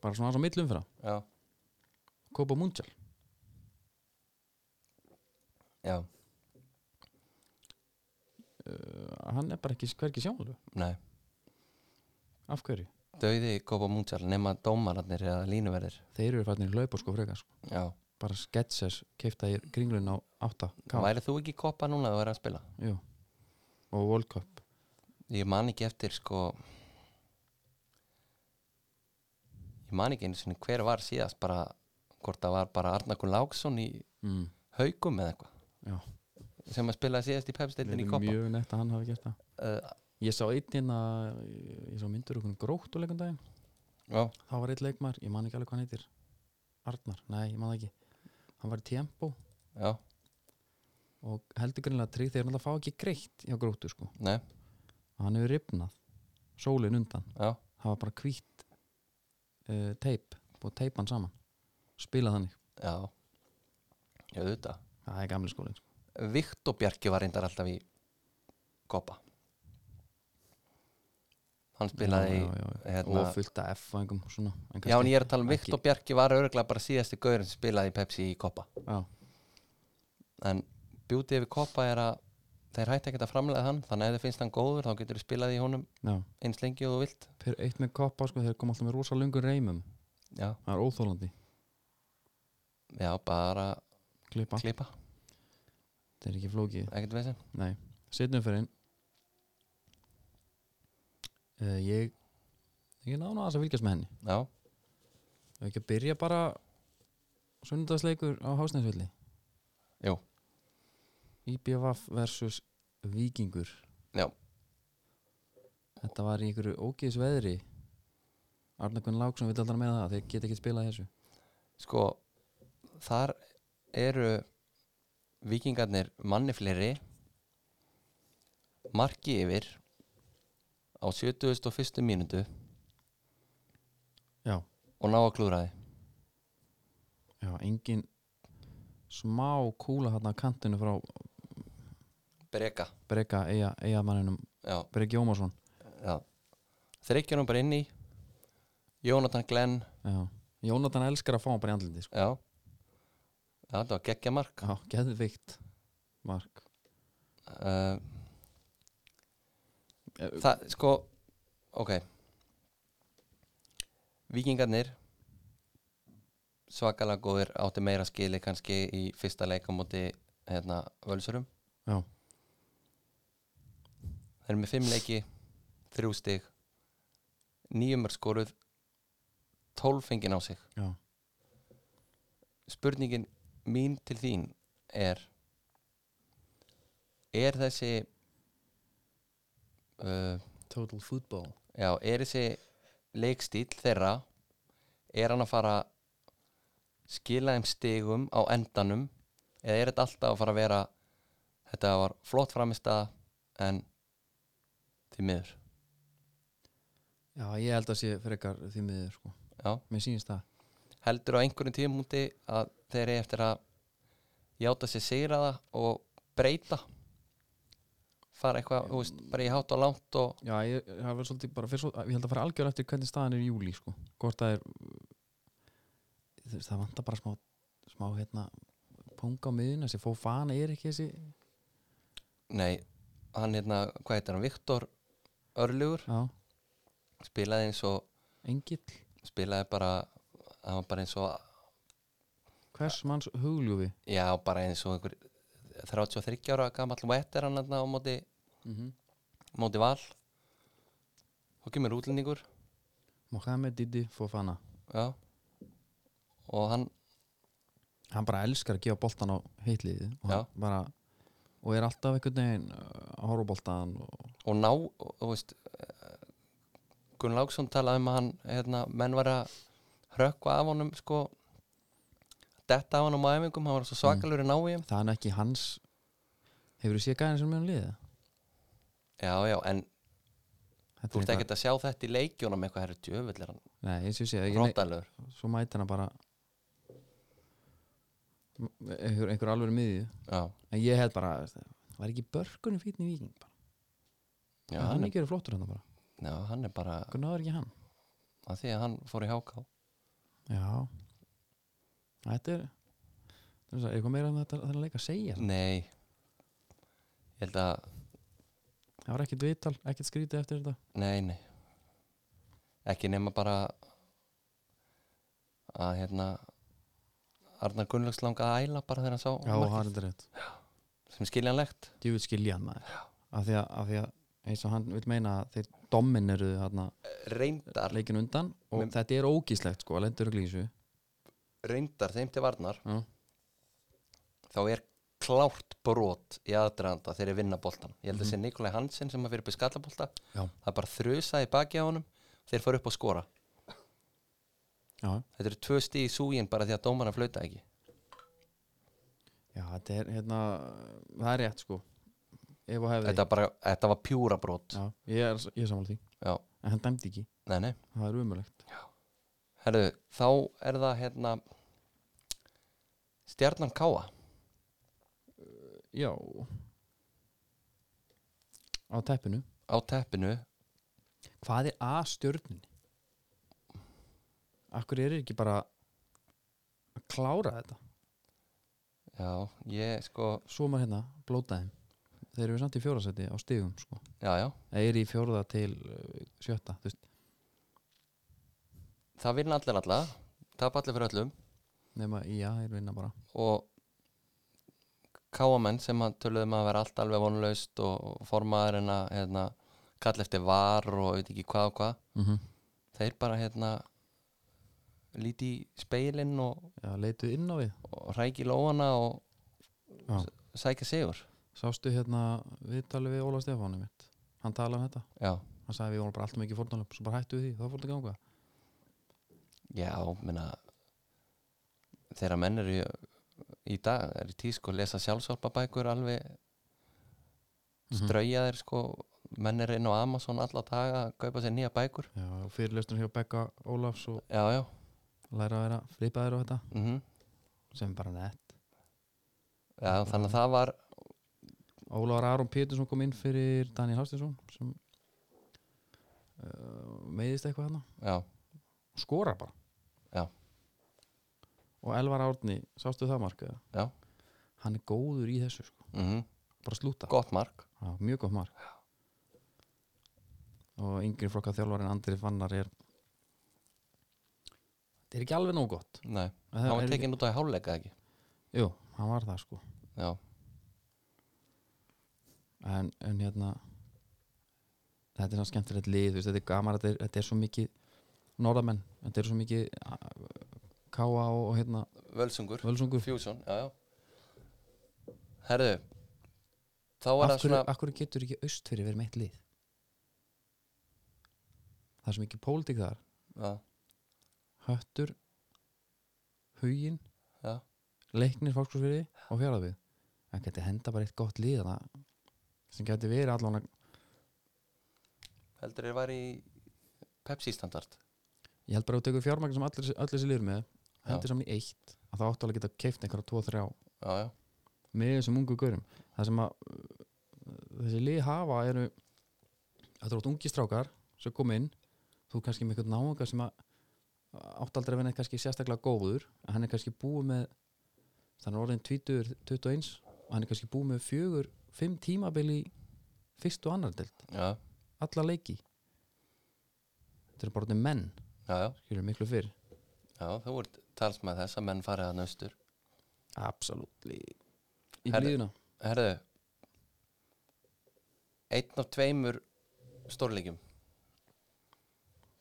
S1: bara svona aðeins á millum fyrir
S2: já,
S1: Kopa Munchal
S2: já,
S1: Eh, hann er bara ekki hverki sjálfur
S2: nei
S1: af hverju
S2: döiði Kopa Múndjál nema dómararnir eða línuverðir
S1: þeir eru fannir hlaupa sko frekar sko.
S2: já,
S1: bara sketches keifta í kringlun á 8 K
S2: værið þú ekki í Kopa núna að þú verið að spila
S1: Jú. og World Cup
S2: ég man ekki eftir sko ég man ekki einu sinni hver var síðast bara hvort það var bara Arnakun Láksson í
S1: mm.
S2: haugum eða eitthvað
S1: Já.
S2: sem að spila síðast í pepstildin í
S1: Þetta er
S2: koppa
S1: mjög nett að hann hafi gert það
S2: uh,
S1: ég sá einn hérna ég ég sá myndur okkur grótt úr leikum daginn
S2: já,
S1: þá var einn leikmar, ég man ekki alveg hvað hann heitir Arnar, nei, ég man það ekki hann var í tempo
S2: já,
S1: og heldur greinlega trygg þegar hann alltaf fá ekki greitt hjá gróttu sko
S2: nei,
S1: hann hefur ripnað, sólin undan
S2: já
S1: hafa bara hvítt uh, teip og teipa hann saman spila þannig,
S2: já, já, auðvitað
S1: það er gamli skólin sko.
S2: Viktor Bjarki var reyndar alltaf í koppa hann spilaði
S1: já,
S2: já,
S1: já, já, já.
S2: hérna-
S1: og fullt af F og einhverjum svona en
S2: já, en ég er að tala um
S1: ekki-
S2: Viktor Bjarki var örgulega bara síðasti gaurinn sem spilaði í pepsi í koppa
S1: já,
S2: en beauty yfir koppa er að þeir hætti ekkert að framlega hann þannig að ef þið finnst hann góður þá getur þið spilað í honum
S1: já,
S2: eins lengi og þú vilt
S1: þeir eitt með koppa sko, þeir kom alltaf með rosa lungum reymum
S2: já,
S1: það er óþólandi,
S2: já bara
S1: klippa
S2: klippa,
S1: þetta er ekki flókið,
S2: ekkert veginn
S1: nei setnum fyrir uh, ég ég nána aðeins að fylgjast með henni
S2: já,
S1: Ef ekki að byrja bara sunnudagsleikur á hásnæðsvelli
S2: Jú.
S1: IBVF versus Víkingur
S2: Já.
S1: Þetta var í einhverju ógeðs veðri Arnar Gunn Láksson vil alltaf með það þeir geta ekki spilað þessu
S2: sko þar eru vikingarnir manni fleiri marki yfir á 71. mínútu
S1: Já,
S2: og ná að klúra þið
S1: já, engin smá kúla hann á kantinu frá
S2: breka,
S1: Breka eiga, eiga manninum
S2: já,
S1: Breki Ómarsson
S2: já þreikjunum bara inn í Jónatan Glenn
S1: já. Jónatan elskar að fá hann bara í andlindi sko.
S2: já, já þetta var geggja mark
S1: Já, geðvikt Mark
S2: uh,
S1: Eh,
S2: það, sko ok vikingarnir svakalega góðir átti meira skili kannski í fyrsta leika móti hérna, völsurum
S1: Já.
S2: þeir eru með fimm leiki þrjú stig nýjumar skoruð tólf fengin á sig
S1: Já,
S2: spurningin mín til þín er er þessi uh,
S1: Total Football
S2: já, er þessi leikstíl þeirra er hann að fara skila þeim stigum á endanum eða er þetta alltaf að fara að vera þetta var flott framist að en því miður
S1: Já, ég held að sé frekar því miður sko.
S2: já.
S1: Mér sýnist það
S2: heldur á einhverjum tímúti að þeir eru eftir að játa sér sigraða og breyta fara eitthvað, þú veist, bara í hátt og langt og
S1: Já, ég, ég, það var svolítið bara fyrst, Ég held að fara algjör eftir hvernig staðan er í júli sko. Hvort það er þú veist, Það vantar bara smá, smá hérna, punga á miðun Þessi fófana er ekki þessi
S2: nei, hann hérna, hvað heitir hann, Viktor Örlugur,
S1: Já,
S2: spilaði eins og
S1: engill
S2: spilaði bara, hann var bara eins og
S1: Hvers manns hugljúfi
S2: já, bara eins og einhver 33 ára gamall vettir hann hérna á móti,
S1: mm -hmm.
S2: móti val og kemur útlendingur
S1: Mohamed Didi Fofana
S2: já og hann,
S1: Hann bara elskar að gefa boltan á heitliði og, hann bara, og er alltaf einhvern veginn uh, að horfa á boltan og,
S2: og ná og, og veist eh, Gunn Láksson talaði um að hann hérna, menn var að hrökkva af honum sko detta af honum á æfingum, hann var svo svakalur í návíum
S1: Það er nú ekki hans Hefur þú séð gæðin sem mjög hann liðið?
S2: já, já, en
S1: Þetta
S2: þú
S1: er
S2: ert
S1: eitthvað-
S2: ekkert að sjá þetta í leikjónum eitthvað herri djöfull er hann,
S1: Nei, eins og ég sé ekki, nei,
S2: rótalur
S1: Svo mæti hana bara M- einhver, einhver alveg miðju
S2: já,
S1: En ég hef bara Var ekki börkunum fítni viking bara.
S2: já,
S1: Hann
S2: hann, er,
S1: ekki verið flottur hann bara
S2: já, hann er bara
S1: Hvernig náður ekki hann?
S2: að því að hann fór í háká
S1: Já Þetta er þetta Er svo- er eitthvað meira um þetta þennan leik að segja
S2: nei ég held að,
S1: Það var ekkit vital, ekkit skrítið eftir þetta
S2: nei, nei ekki nema bara að hérna Arnar Gunnlaugs langaði að æla bara þegar hann sá
S1: Já,
S2: markið.
S1: hann er þetta rétt
S2: sem skiljanlegt
S1: Djúvill skilja hann maður Af því að, af því að eins og hann vil meina að þeir domineruðu þarna
S2: reyndar,
S1: leikin undan og
S2: Men-
S1: þetta er ógíslegt sko að lendur og glísu
S2: reyndar þeim til varnar
S1: Já.
S2: þá er klárt brot í aðdraganda þegar vinna boltan ég held að sé Nikolai Hansen sem að fyrir upp í skallabolta
S1: Mhm. Já.
S2: það bara þrusaði baki á honum þeir fóru upp og skora
S1: Já,
S2: þetta eru tvö stíð í súgin bara því að dómarna flauta ekki
S1: Já, þetta er hérna það er rétt sko ef og hefði
S2: þetta, bara, þetta var pjúra brot
S1: Já, ég er, ég er samanlega því
S2: Já.
S1: en hann dæmdi ekki,
S2: nei, nei.
S1: það er umulegt
S2: Herðu, þá er það hérna stjarnan káa
S1: Já á teppinu
S2: á teppinu
S1: Hvað er að stjörninni? Akkur er ekki bara að klára þetta
S2: já, ég sko
S1: svo er maður hérna, blótaði þeir eru samt í fjórasæti á stigum sko.
S2: já, já,
S1: eða eru í fjórða til uh, sjötta þú veist,
S2: það vinna allir alla tap allir fyrir öllum
S1: nema í að þeir vinna bara
S2: og káamenn sem að töluðum að vera allt alveg vonlaust og formaður en að hérna, kalla eftir var og veit ekki hvað og hvað
S1: mm -hmm.
S2: þeir bara hérna líti í speilin og,
S1: já, leituð inn á við
S2: og ræki lóana og
S1: Já.
S2: sækja sigur
S1: sástu hérna, við talið við Óla Stefáni mitt hann talaði um þetta,
S2: já,
S1: hann sagði við vorum bara allt mikið fórnalöp svo bara hættu við því, þá fór þetta ganga
S2: já, minna þegar menn eru í, í dag, er í tísku að lesa sjálfsálpabækur alveg
S1: Mhm.
S2: strauja þeir sko menn eru inn á Amazon alla daga að kaupa sér nýja bækur
S1: já, og fyrirlestur hjá Begga Ólafs og
S2: já, já,
S1: læra að vera flipaðir á þetta
S2: mhm
S1: sem er bara nett
S2: Já, þannig að það var
S1: Ólafur Aron Pétursson kom inn fyrir Daniel Hástinsson sem uh, meiðist eitthvað hérna
S2: já,
S1: og skorar bara
S2: Já.
S1: og Elvar Árni, sástu það mark eða?
S2: Já.
S1: hann er góður í þessu sko.
S2: mm
S1: bara slúta,
S2: gott mark
S1: Já, mjög gott mark og yngri flokka þjálfarinn Andri Fannar er þetta er ekki alveg nóg gott
S2: Nei,
S1: En
S2: það
S1: það
S2: var
S1: er ekki-
S2: tekin út á háluleika ekki
S1: Jú, hann var það sko
S2: Já,
S1: en, en hérna þetta er svona skemmtilegt lið þú veist, þetta er gaman, þetta er, þetta er svo mikið norðamenn, þetta er svo mikið a- káa og, og hérna
S2: Völsungur,
S1: völsungur,
S2: Fjússon, já, já Herðu Þá
S1: af
S2: var það
S1: hverju,
S2: svona
S1: af hverju getur ekki austfyrir verið meitt lið það er svo mikið pólitík þar
S2: já,
S1: höttur hugin,
S2: já,
S1: leiknir fólksfyrir og fjaraðvið það geti henda bara eitt gott lið þarna sem geti verið allan
S2: heldur þér var í Pepsi standard
S1: ég held bara að þú tekur fjármagn sem allir, allir sér liður með
S2: Já.
S1: hendur saman í eitt að það áttu alveg að geta keift einhverja tvo, þrjá
S2: Já, já,
S1: með þessum ungu gaurum það sem að uh, þessi lið hafa eru þetta eru oft ungi strákar sem kom inn þú kannski með eitthvað náunga sem að átt aldrei að vinna kannski sérstaklega góður en hann er kannski búið með þannig er orðin 20, 21 og hann er kannski búið með fjögur, fimm tímabil í fyrst og annar delt
S2: já,
S1: alla leiki þetta eru bara orðin menn
S2: já, já,
S1: skilur miklu fyrr
S2: já Þú voru tals með þess að menn farið að nöstur
S1: absolutt í
S2: Herðu.
S1: glíðuna
S2: Herðu Einn af tveimur stórleikjum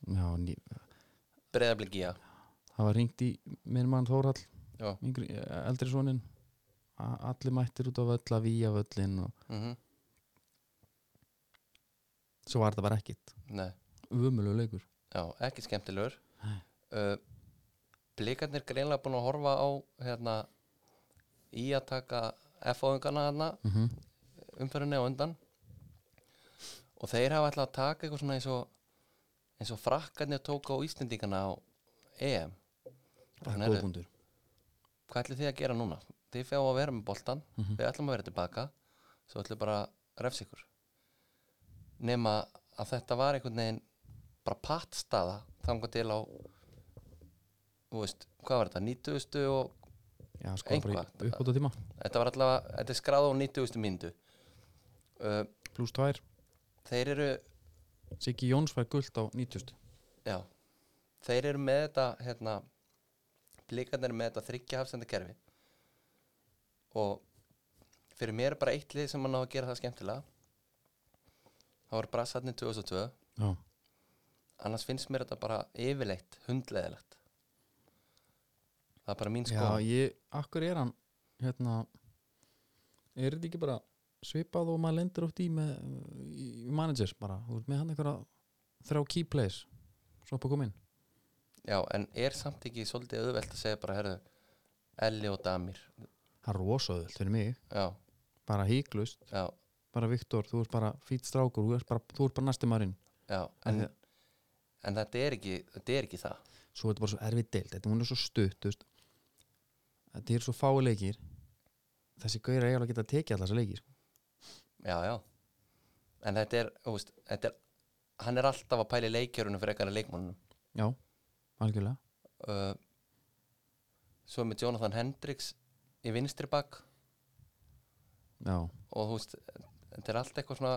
S1: Já, ný,
S2: Breiðablíkja
S1: það var ringt í minn mann Þórhall
S2: Já,
S1: yngri, eh, eldri sonin allir mættir út á völl að víja völlin og
S2: mhm,
S1: svo var þetta bara ekkit
S2: nei
S1: umölu leikur
S2: Já, ekki skemmtilegur
S1: Nei.
S2: uh, Blikarnir greinlega búin að horfa á hérna, í að taka F-óðingana hérna,
S1: mm -hmm.
S2: umferðinni á undan og þeir hafa ætlað að taka eitthvað svona eins og eins og frakkarnir tóka á Íslendingana á EM Bara, heyrðu,
S1: góðbundur
S2: Hvað ætlið þið að gera núna? Þið fá að vera með boltan
S1: Mhm.
S2: við ætlum að vera tilbaka svo ætlum bara að refsa ykkur nema að þetta var einhvern veginn bara pattstaða þangar til á þú veist, hvað var þetta, 90 og
S1: já, sko, bara
S2: Eitthvað.
S1: upp á tíma
S2: þetta var allavega, þetta er skráð á 90 myndu uh,
S1: pluss tvær,
S2: þeir eru
S1: Siggi Jóns fær gullt á 90
S2: já, þeir eru með þetta hérna, blikarnir eru með þetta þryggja hafsenda kerfi og fyrir mér er bara eitt lið sem mann á að gera það skemmtilega það voru brassarnir 2002
S1: já,
S2: annars finnst mér þetta bara yfirleitt hundleðilegt það er bara mín sko
S1: já ég, akkur er hann hérna er þetta ekki bara svipað og maður lendur átt í með í, í managers bara, þú ert með hann einhverja þrjá key plays svo upp að koma inn
S2: en er samt ekki svolítið auðvelt að segja bara herðu Elli og Damir
S1: það er rosaðið fyrir mig,
S2: já,
S1: bara híklust
S2: já,
S1: bara Viktor, þú ert bara fýtt strákur þú ert bara, þú ert bara næsti maðurinn
S2: já en,
S1: Af
S2: en þetta er ekki þetta er ekki það
S1: svo er þetta bara svo erfið deild, þetta hún er svo stutt þú veist. þetta er svo fái leikir þessi gauðir eiga alveg að geta að tekið allar þessi leikir
S2: já, já en þetta er, þú veist, þetta er hann er alltaf að pæli leikjörunum fyrir ekkar leikmónunum
S1: já, algjörlega
S2: uh, svo er með Jonathan Hendricks í vinstri bak
S1: já,
S2: og þú veist, þetta er allt eitthvað svona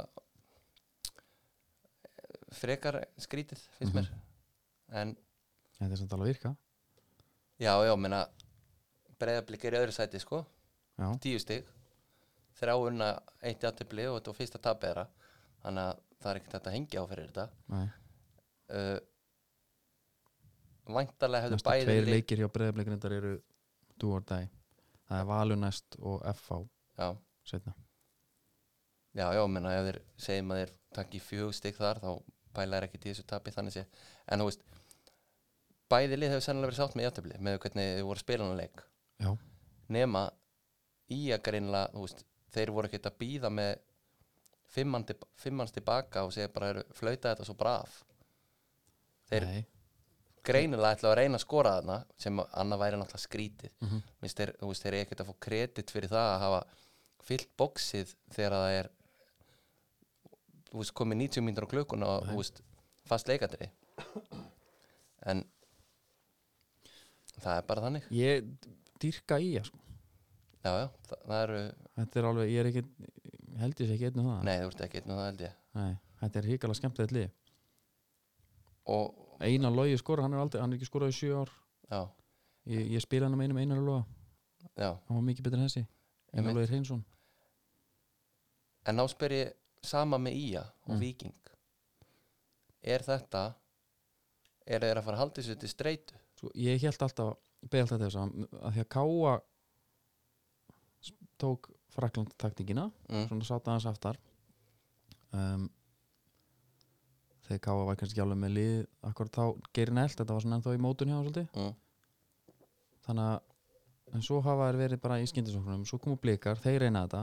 S2: eh, frekar skrítið finnst mér en
S1: þetta er samt alveg að virka
S2: já, já, meina breyðablik er í öðru sæti sko
S1: já,
S2: tíu stig þrjá unna eitt játtöfli og þetta var fyrsta tapið þeirra þannig að það er ekkert hægt að hengja á fyrir þetta
S1: nei
S2: uh, væntalega hefðu
S1: Næstu tveir
S2: bæði leik-
S1: leikir hjá breyðableikrindar eru do or die það er Valur næst og FH
S2: já,
S1: setna
S2: já, já, menna ef þeir segjum að þeir takki fjög stig þar þá pælar ekki þessu tapi þannig sé en þú veist bæði lið hefur sennilega verið sátt með játtöfli með hvernig þau voru spilanleik
S1: já,
S2: nema í að greinlega þú veist, þeir voru ekkert að býða með fimmann til- fimmanns tilbaka og segja bara eru flauta þetta svo braf þeir
S1: nei,
S2: greinilega ætla að reyna að skora þarna sem annað væri náttúrulega skrítið
S1: mm -hmm.
S2: Minnst þeir, þú veist, þeir eru ekkert að fá kredit fyrir það að hafa fyllt bóksið þegar það er þú veist, komið 90 mínútur á klukkuna og
S1: Nei.
S2: þú veist, fast leikandri en það er bara þannig
S1: ég dýrka í það sko.
S2: já, já, það, það eru
S1: þetta er alveg, ég er ekki held ég sé ekki einn um það
S2: nei, þú ert ekki einn og það held ég
S1: Nei, þetta er hrikalega skemmtilegt lið
S2: og,
S1: Einar Lógi skora, hann er aldrei, hann er ekki skorað í sjö ár
S2: já,
S1: ég, ég spila hann um einum Einar Lóga
S2: já
S1: hann var mikið betur en þessi
S2: Einmitt.
S1: Einar Lógi Hreinsson
S2: en ná spyr ég sama með Ía og
S1: Mm.
S2: Víking er þetta er þeir að fara að halda þessu til streitu
S1: sko, ég held alltaf, beðið alltaf þess að, að því að Káa s- tók Frakland taktingina
S2: mm.
S1: svona sátt aðeins aftar um, þegar Káa var kannski ekki alveg með lið akkur þá gerir nælt, þetta var svona ennþá í mótun hjá hann svolítið
S2: Mm.
S1: þannig að en svo hafa þeir verið bara í skyndisóknum svo komu blikar, þeir reyna þetta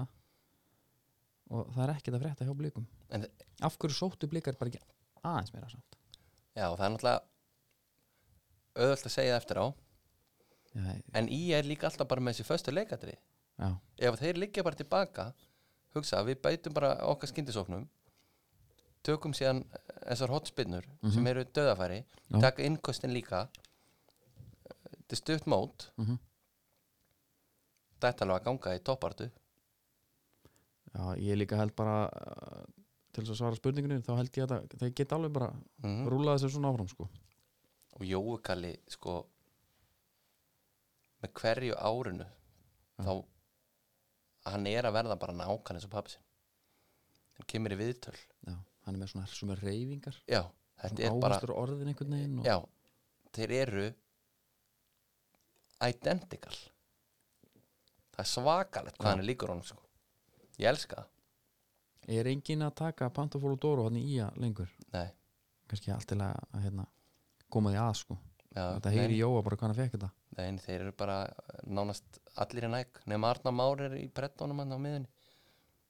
S1: og það er ekkert að frétta hjá blikum
S2: En-
S1: af hverju sóttu blikar bara ekki aðeins meira samt
S2: já, það er náttúrulega auðvöld að segja eftir á
S1: já,
S2: en Ía er líka alltaf bara með þessi föstu leikatri
S1: já,
S2: ef þeir liggja bara tilbaka hugsa, við bætum bara okkar skyndisóknum tökum síðan eh, þessar hotspinnur sem eru döðafæri
S1: Já.
S2: taka innkostin líka þetta er stutt mót
S1: mhm.
S2: þetta er alveg að ganga í toppartu
S1: já, ég líka held bara uh, til þess að svara spurningunni þá held ég að það- þeir geta alveg bara mm.
S2: mm
S1: rúlaði þessu svona áfram sko
S2: og Jóukalli sko með hverju árinu þá hann er að verða bara nákan eins og pappi sinn hann kemur í viðtöl
S1: já, hann er með svona sem er reyfingar
S2: já, þetta er bara
S1: áherstur orðin einhvern veginn og,
S2: já, þeir eru identical það er svakalegt hvað
S1: Já.
S2: hann er líkur honum sko ég elska það,
S1: er engin að taka Pantofólu Dóru hann í að lengur
S2: nei
S1: kannski allt til að að, hérna, koma því að sko
S2: já,
S1: þetta
S2: nei,
S1: heyri Jóa bara hvað hann fekk þetta
S2: nei, þeir eru bara eh, nánast allir í næk nema Arna Már er í brettónum hann á miðunni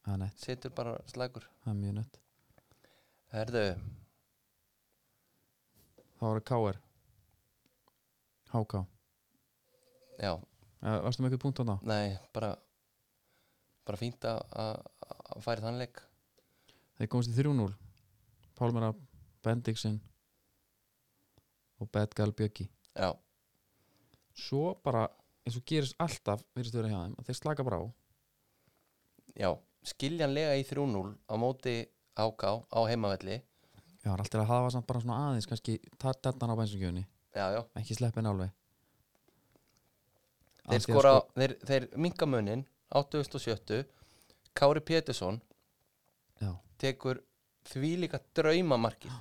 S1: það er nett,
S2: situr bara slagur
S1: það er mjög nett
S2: herðu,
S1: þá var það KR HK,
S2: já,
S1: uh, varstu með eitthvað punkt á þá?
S2: Nei, bara bara fínt að- að að færi þann leik
S1: þeir komast í 3-0 Pálmara, Bendiksen og Bedgal Bjöggi
S2: Já,
S1: svo bara, eins og gerist alltaf virðist vera hjá þeim, að þeir slaka bara á
S2: já, skiljanlega í 3-0 á móti áká á heimavelli
S1: já, allt er að hafa samt bara svona aðeins kannski tattarnar á bænsingjöfunni,
S2: Já, já,
S1: ekki sleppin alveg
S2: þeir
S1: Af því að
S2: skora þeir, þeir minka munin 8.7 Kári Pétursson
S1: sko- já,
S2: tekur því líka draumamarkið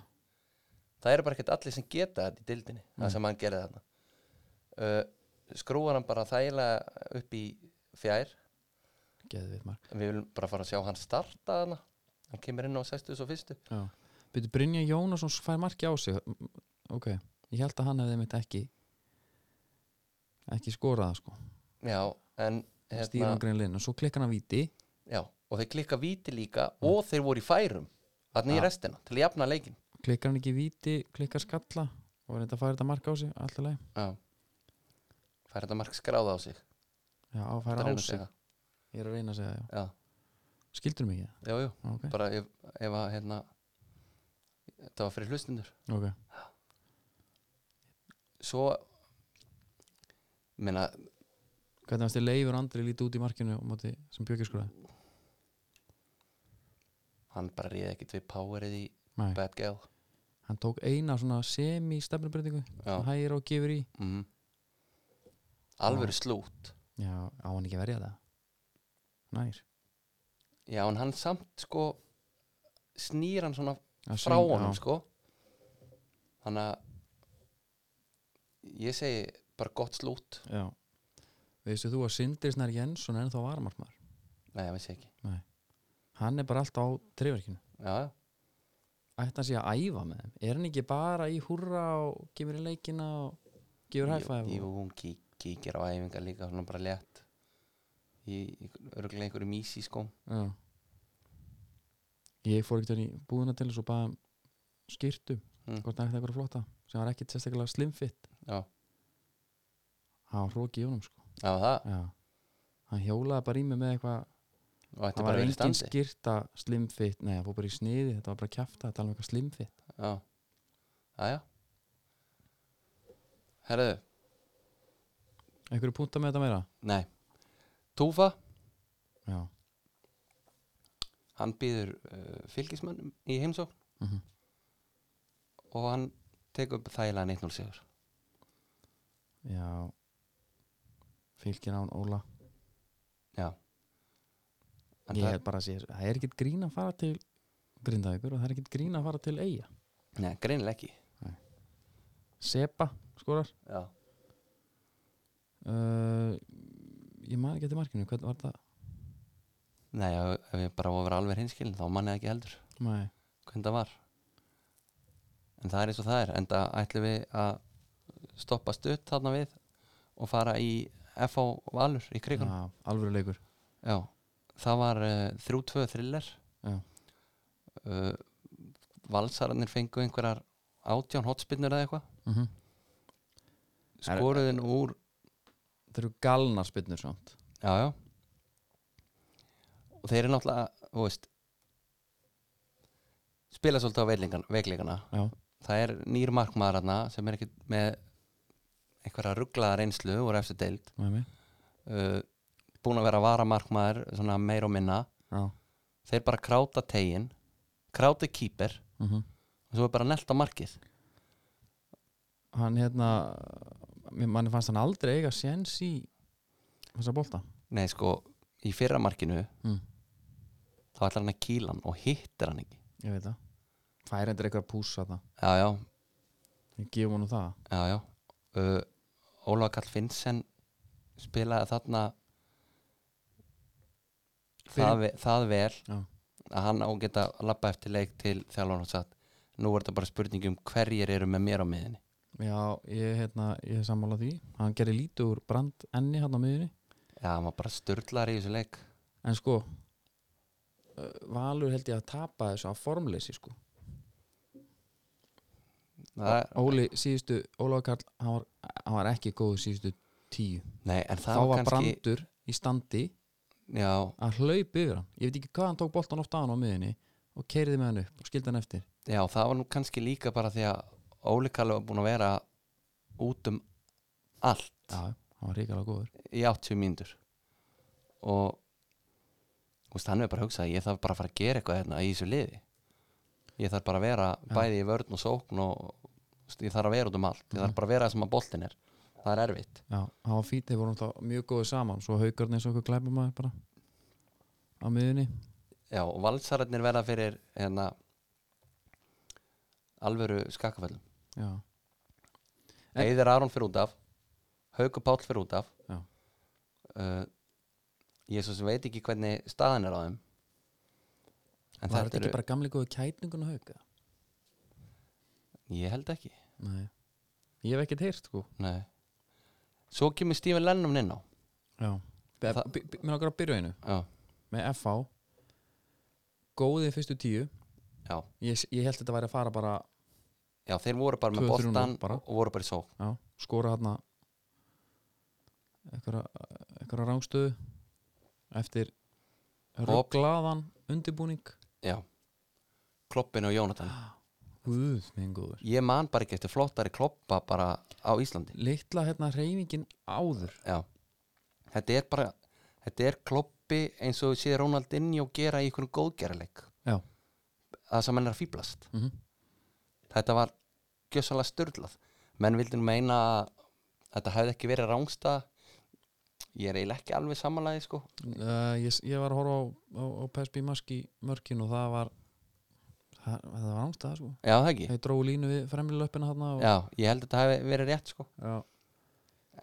S2: Það eru bara ekkert allir sem geta þetta í dildinni það
S1: Nei.
S2: sem hann gerði þarna uh, Skrúar hann bara þægilega upp í fjær
S1: geðvitt marg
S2: Við viljum bara fara að sjá hann starta þarna Hann kemur inn á 61.
S1: já, byrju Brynja Jónasson fær marki á sig M- ok, ég held að hann hefði mitt ekki ekki skorað það sko
S2: Já, en
S1: stýra
S2: hérna,
S1: hann greinlegin og svo klikkar hann víti
S2: já, og þeir klikka víti líka og þeir voru í færum þarna í
S1: Mm. Já.
S2: restina til að jafna leikin
S1: klikkar hann ekki víti, klikkar skalla og reynda að færa þetta mark á sig, alltaf leið
S2: Já Fær þetta mark skráða á sig
S1: já, að
S2: ertu að
S1: færa á
S2: reyna að
S1: sig,
S2: segja?
S1: ég er að reyna að segja já.
S2: Já,
S1: skildur mig ekki,
S2: já, já,
S1: það? ok,
S2: bara ef, ef að hérna þetta var fyrir hlustundur
S1: ok
S2: Svo meina
S1: hvernig varst þið leifur andri lítið út í markinu á móti sem Björki skoraði
S2: hann bara ríði ekkit við powerið í
S1: Nei.
S2: Bad Girl
S1: hann tók eina svona semi-stefnubreitingu
S2: Já.
S1: hægir og gefur í
S2: mm. alvöru slút
S1: já, á hann ekki að verja það nær
S2: já en hann samt sko snýr hann svona
S1: Að
S2: frá
S1: söng-
S2: honum
S1: já,
S2: sko þannig að ég segi bara gott slút
S1: já. veistu þú að Sindri Snær Jensson er ennþá varamarkmaður
S2: nei ég veist ekki
S1: hann er bara alltaf á treyverkinu
S2: já, já.
S1: ætti hann sé að æfa með þeim er hann ekki bara í húrra og gefur í leikina og gefur
S2: Jú,
S1: hæfæf
S2: jú, hún kík, kíkir á æfingar líka svona bara létt í örgulega einhverju mísi sko
S1: Já Ég fór ekkert í búðuna til þess og baða um skýrtu
S2: Mm.
S1: hvort það ætti eitthvað flotta sem var ekkert sérstaklega slimfitt
S2: já,
S1: það var hróki í honum sko
S2: já það
S1: Já Hann hjólaði bara í mig með eitthvað
S2: og þetta
S1: Það
S2: bara
S1: var
S2: verið
S1: engin
S2: standi
S1: skýrta slimfitt Nei, það fór bara í sniði Þetta var bara kjafta að tala um eitthvað slimfitt
S2: já, já, já. herðu,
S1: Einhverju púnta með þetta meira?
S2: nei Túfa,
S1: Já
S2: hann býður uh, fylgismannum í heimsókn
S1: mm
S2: og hann tekur upp þægilega 1-0 sigur
S1: Já Fylgir án Óla
S2: já En
S1: Ég
S2: það-
S1: held bara að sé Það er ekkert grín að fara til Grindavíkur og það er ekkert grín að fara til Eyja
S2: Nei, greinilega ekki
S1: Sepa skorar
S2: Já,
S1: uh, ég man ekki eftir markinu hvernig var það?
S2: Nei, ef, ef ég bara voru alveg hinskilin þá manni ekki heldur
S1: Nei.
S2: hvernig það var En það er eins og það er en það ætlum við að stoppa stutt þarna við og fara í FH Valur í krigun
S1: Já, alvöru leikur
S2: Já, það var uh, 3-2 thriller
S1: Já.
S2: uh, Valsararnir fengu einhverjar átján hotspinnur eða eitthvað
S1: mm -hmm. Það eru-
S2: skoruðin úr
S1: það eru galnar spilnur samt
S2: Já, já Og þeir eru náttúrulega, þú veist spila svolítið á veikleikana, veikleikana.
S1: já,
S2: Það er nýr markmaður hana sem er ekki með einhverja rugglaða reynslu úr efstu deild
S1: með mig
S2: uh, búin að vera varamarkmaður svona meir og minna
S1: já.
S2: þeir bara kráta tegin kráta kýper
S1: Mm
S2: og svo er bara nelt á markið
S1: hann hérna mér- manni fannst hann aldrei eiga séns í þessa bolta
S2: Nei, sko, í fyrra markinu
S1: mm.
S2: þá ætlar hann að kýla hann og hittir hann ekki
S1: ég veit það fær endur eitthvað að púsa það
S2: Já, já,
S1: ég gefum hann það
S2: Já, já uh, Ólafa Karl Finnsen spilaði þarna það, ve það vel
S1: Já.
S2: að hann á geta að labba eftir leik til þjálfan og satt nú er þetta bara spurning um hverjir eru með mér á miðinni
S1: já, ég, hérna, ég er sammála því hann gerir lítið úr brand enni hann á miðunni
S2: Já, hann var bara störlar í þessu leik
S1: en sko uh, Valur held ég að tapa þessu á formleysi sko
S2: það, er-
S1: Óli síðustu, Ólaður Karl hann var, hann var ekki góð síðustu tíu
S2: Nei, en
S1: þá
S2: það
S1: var
S2: var kannski
S1: Brandur í standi
S2: Já,
S1: að hlaupa yfir hann ég veit ekki hvað hann tók boltan oft á hann á miðinni og keiriði með hann upp og skildi hann eftir
S2: já, það var nú kannski líka bara því að Óli Karl var búin að vera út um allt
S1: já, hann var ríkala góður
S2: í 80 mínútur og þú veist, hann hefur bara hugsað ég þarf bara að fara að gera eitthvað hérna í þessu liði ég þarf bara að vera bæði í vörn og sókn og þú veist, ég þarf að vera út um allt ég þarf
S1: Mhm.
S2: bara að vera það sem að boltin er það er erfitt
S1: já, hann var fít, þeir voru alltaf mjög góður saman svo haugarni eins og okkur glæpa maður bara á miðinni
S2: Já, og valsararnir verða fyrir hérna, alvöru skakaföllum
S1: já, En-
S2: Eðir Aron fyrir út af Hauku Páll fyrir út af
S1: Já.
S2: uh, ég svo sem veit ekki hvernig staðan er á þeim
S1: var
S2: en
S1: þetta
S2: þetta
S1: ekki
S2: eru
S1: bara gamli góðu kætningun og hauga?
S2: ég held ekki
S1: nei, ég hef ekkert heyrt sko
S2: Nei. Svo kemur Stephen Lennon inn á
S1: já, Be-
S2: Það-
S1: bi- bi- mér langar að byrja á einu
S2: Já,
S1: með FH góðið fyrstu tíu
S2: já,
S1: ég, ég held þetta væri að fara bara
S2: já þeir voru bara með
S1: 2-3-0
S2: boltan
S1: bara.
S2: og voru bara í sók
S1: já, skora hérna eitthvað rángstöðu eftir
S2: Hopp.
S1: rögglaðan undirbúning
S2: Já Kloppin og Jónatan
S1: Guð, minn góður
S2: Ég man bara ekki eftir flottari kloppa bara á Íslandi
S1: litla hérna reyfingin áður
S2: Já þetta er bara þetta er kloppi eins og sé Ronaldinho gera í einhvern góðgerleik
S1: Já.
S2: það sem menn er að fýblast
S1: mm
S2: þetta var gjössalega störlað menn vildi nú meina að þetta hefði ekki verið rángsta ég er eiginlega ekki alveg samanlæði sko
S1: uh, ég, s- ég var að horfa á, á, á PSB Mask í mörkin og það var það, það var ángstæða sko
S2: já það ekki,
S1: þeir dróðu línu við fremri löppina þarna og,
S2: já ég held að þetta hefði verið rétt sko
S1: já.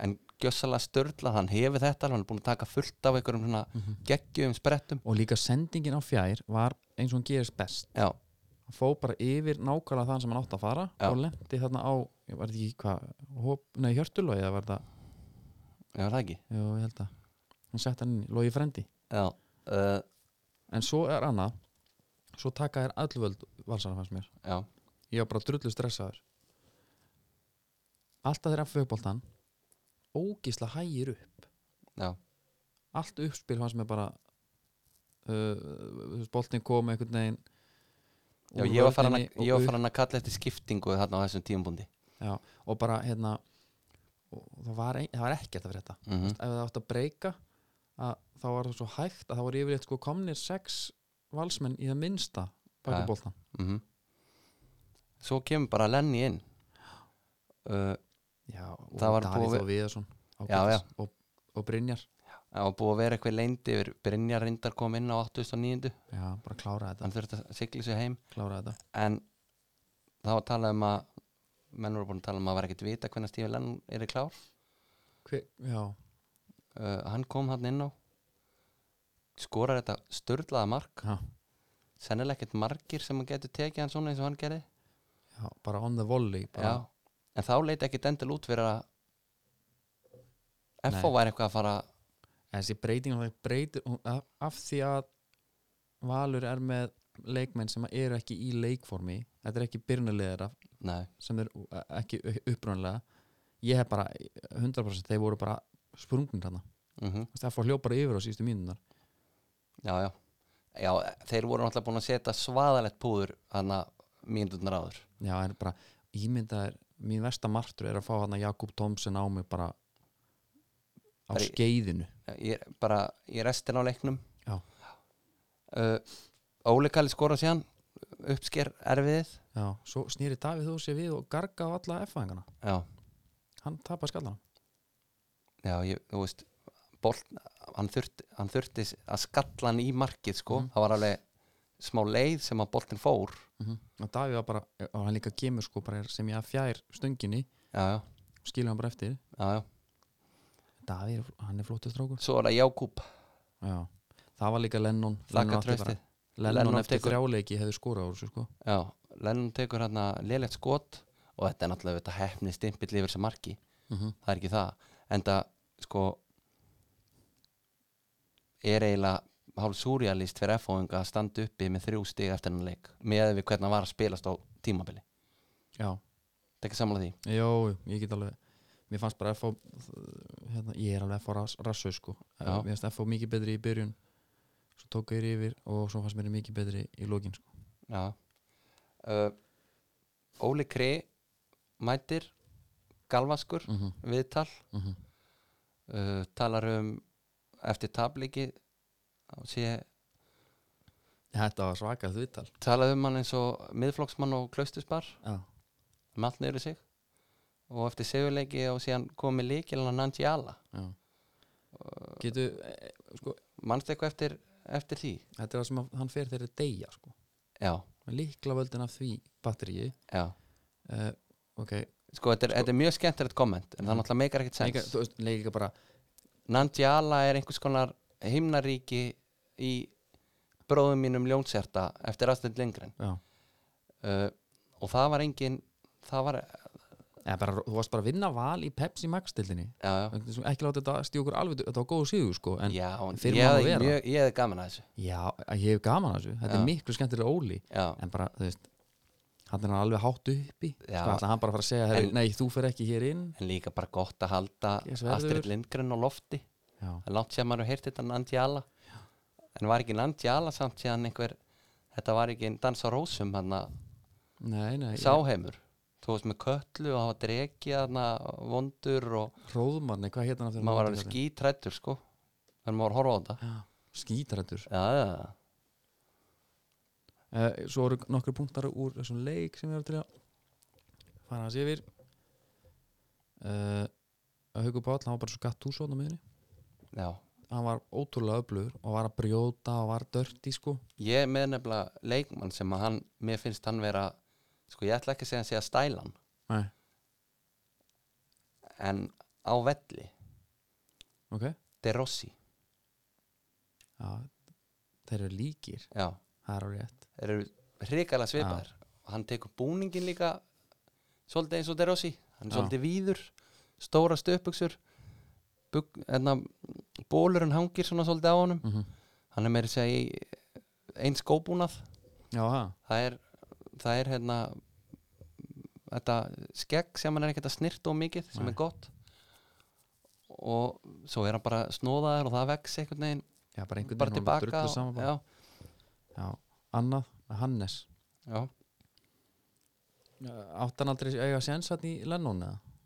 S2: en gjössalega störlað, hann hefur þetta alveg, hann er búin að taka fullt af einhverjum svona
S1: Mhm.
S2: geggjum sprettum
S1: og líka sendingin á fjær var eins og hann gerist best
S2: já,
S1: hann fó bara yfir nákvæmlega þann sem hann átti að fara
S2: Já.
S1: og lendi þarna á, ég var ekki hvað hop, nei, hjörtulói eða var það,
S2: já það ekki
S1: já, ég held að hann sett hann inn, í logi frendi
S2: já, uh,
S1: en svo er annað svo taka þér allvöld valsara fannst mér
S2: já,
S1: ég var bara drullu stressaður alltaf þeirra fjögboltan ógisla hægir upp
S2: já
S1: allt uppspil fannst mér bara uh, boltin kom einhvern veginn
S2: Já,
S1: úr
S2: ég var farin að,
S1: vörninni og
S2: ég var
S1: upp.
S2: farin að kalla eftir skiptingu þarna á þessum tímabundi
S1: Já, og bara hérna og það var, ein, það var ekkert að fyrir þetta
S2: mm
S1: ef það átt að breyka að þá var það svo hægt að það voru yfirleitt sko komnir sex valsmenn í það minnsta
S2: Ja.
S1: bakið bóltan
S2: mhm. Svo kemur bara Lenny inn uh,
S1: já, og
S2: Það var
S1: Davíð
S2: búið-
S1: Þór Viðarsson
S2: Já, já.
S1: og, og Brynjar
S2: Það var búið að vera eitthvað leind yfir Brynjar reyndar kom inn á 2009
S1: já, bara klára þetta,
S2: Hann þurfti að sigla sig heim
S1: klára þetta.
S2: En það var talað um að Menn voru búin að tala um að vera ekkert vita hvernig Stífi Lenn er í klár
S1: Hver, já,
S2: uh, Hann kom hann inn á Skorar þetta störlaða mark
S1: já,
S2: Sennilega ekkert margir sem hann getur tekið hann svona eins og hann gerði
S1: já, bara on the volley bara,
S2: Já, en þá leit ekkit endil út fyrir að F.O.
S1: Nei.
S2: væri eitthvað að fara
S1: En þessi breyting hún breytir, hún, af, af því að Valur er með leikmenn sem eru ekki í leikformi þetta er ekki byrnulegðara
S2: Nei,
S1: sem er uh, ekki upprunlega ég hef bara 100% þeir voru bara sprungin þarna
S2: mhm
S1: það fór hljóð bara yfir á síðustu mínunar
S2: Já, já. Já, þeir voru náttúrulega búin að setja svaðalett púður hana mínundurnar áður.
S1: já en bara ímyndaðir mín versta martur er að fá hann Jakob Thomsen á mig bara á
S2: Bara í-
S1: skeiðinu
S2: Ég er bara í restin á leiknum.
S1: Já.
S2: Uh, Óli Kalli skora síðan, uppsker erfiðið.
S1: já, svo snýri Davíð þú sér við og garga á alla F-fæðingana
S2: Já,
S1: hann tapar skallan
S2: já, ég, þú veist, bolt, hann, þurfti, hann þurfti að skalla hann í markið, sko.
S1: Mhm.
S2: Það var alveg smá leið sem að boltin fór.
S1: mm og Davíð var bara, og hann líka kemur sko bara er sem ég að fjær stönginni
S2: Já, já,
S1: og skilur hann bara eftir
S2: já, já.
S1: Davíð, er- hann er flóttur strákur
S2: Svo er það Jákúb,
S1: já, það var líka Lennon Lennon
S2: þakka
S1: átti bara-
S2: tröstið.
S1: Lennon,
S2: Lennon
S1: eftir
S2: tekur-
S1: þrjáleiki hefði skorað úr þessu sko
S2: Já, Lennon tekur hérna lélegt skot og þetta er náttúrulega þetta hefni stimpill yfir sem marki.
S1: Mhm.
S2: það er ekki það en það sko er eiginlega hálf súrjalist fyrir F-óinga að standa uppi með þrjú stig eftir hennan leik með við hvernig hann var að spilast á tímabili
S1: Já,
S2: þetta er ekki samlega því
S1: jú, jú, ég get alveg Mér fannst bara FH hérna, Ég er alveg FH rass, rassu sko
S2: Já.
S1: Mér fannst FH mikið betri í byrjun Svo tók þeir yfir og svo fannst mér þeir mikið betri í lokin sko
S2: Já. Uh, Óli Kri mætir galvaskur
S1: mm -hmm.
S2: viðtal uh, talar um eftir tabliki og sé
S1: Þetta var svakað viðtal
S2: talað um hann eins og miðflokksmann og klaustusbar
S1: Já,
S2: með allt niður í sig og eftir segjuleiki og síðan komið líkilega Nanji Alla
S1: já Getu, e, sko,
S2: mannstu eitthvað eftir, eftir því?
S1: Þetta er það sem að hann fer þeirri deyja sko
S2: Já,
S1: Líkla völdin af því batteríi
S2: já
S1: uh, Ok,
S2: sko þetta er, þetta er mjög skemmtilegt komment en það náttúrulega meikar ekkert
S1: Leika,
S2: sens
S1: þú veist, leika bara
S2: Nanji Alla er einhvers konar himnaríki í bróðum mínum ljónserta eftir aðstönd lengren
S1: Já
S2: uh, og það var engin það var,
S1: Eða bara, þú varst bara að vinna val í Pepsi Max-dildinni
S2: já, já
S1: ekki láta þetta stjókur alveg þetta var góð síðu sko en
S2: Já,
S1: fyrir
S2: ég
S1: má það
S2: hefði
S1: vera.
S2: mjög- ég hefði gaman að þessu
S1: já, ég hef gaman að þessu þetta
S2: Já.
S1: er miklu skemmtilega óli
S2: Já,
S1: en bara, þú veist, hann er alveg hátt uppi
S2: Já.
S1: sko, ætlar hann bara að fara að segja en,
S2: En-
S1: nei, þú fer ekki hér inn
S2: en líka bara gott að halda
S1: Ég sverður.
S2: Astrid Lindgren á lofti
S1: já,
S2: Það er langt sér maður hefur heyrt þetta Nandjala en var ekki Nandjala samt síðan einhver þetta var ekki einn dans á rósum hann að
S1: nei, nei
S2: sáheimur þú veist með köllu og hann var drekið þarna vondur og
S1: Róðmanni, hvað hétt hann aftur?
S2: maður var alveg skítrættur sko en maður var að horfa á
S1: Já, skítrættur
S2: þetta já, já, já.
S1: eh, Svo eru nokkur punktar úr þessum leik sem ég var til að fara hans yfir eh, Haukur Páll, hann var bara svo gatt úr svona miðinni
S2: já
S1: Hann var ótrúlega öflugur og var að brjóta og var dörti sko
S2: ég er með nefnilega leikmann sem að hann, mér finnst hann vera sko ég ætla ekki að segja hann sé að stæla hann
S1: Nei,
S2: en á velli,
S1: ok
S2: De Rossi
S1: Já, þeir eru líkir,
S2: já,
S1: það er á rétt
S2: þeir eru hrikalega svipaðir og hann tekur búningin líka svolítið eins og De Rossi hann er
S1: Já.
S2: svolítið víður, stóra stöpuksur bug, enna, bólurinn hérna, hangir svona svolítið á honum
S1: mm
S2: hann er meiri segja í eins góbúnað
S1: Já, það
S2: það er, það er hérna þetta skegg sem hann er ekkert að snirta og mikið sem
S1: Nei.
S2: er gott og svo er hann bara snóðaður og það vex einhvern veginn
S1: Já, bara einhvern
S2: bara
S1: veginn og
S2: tilbaka
S1: drullu saman
S2: og,
S1: bara.
S2: já,
S1: Já, annað, Hannes
S2: já.
S1: Átt hann aldrei eiga séns hann í Lennon eða?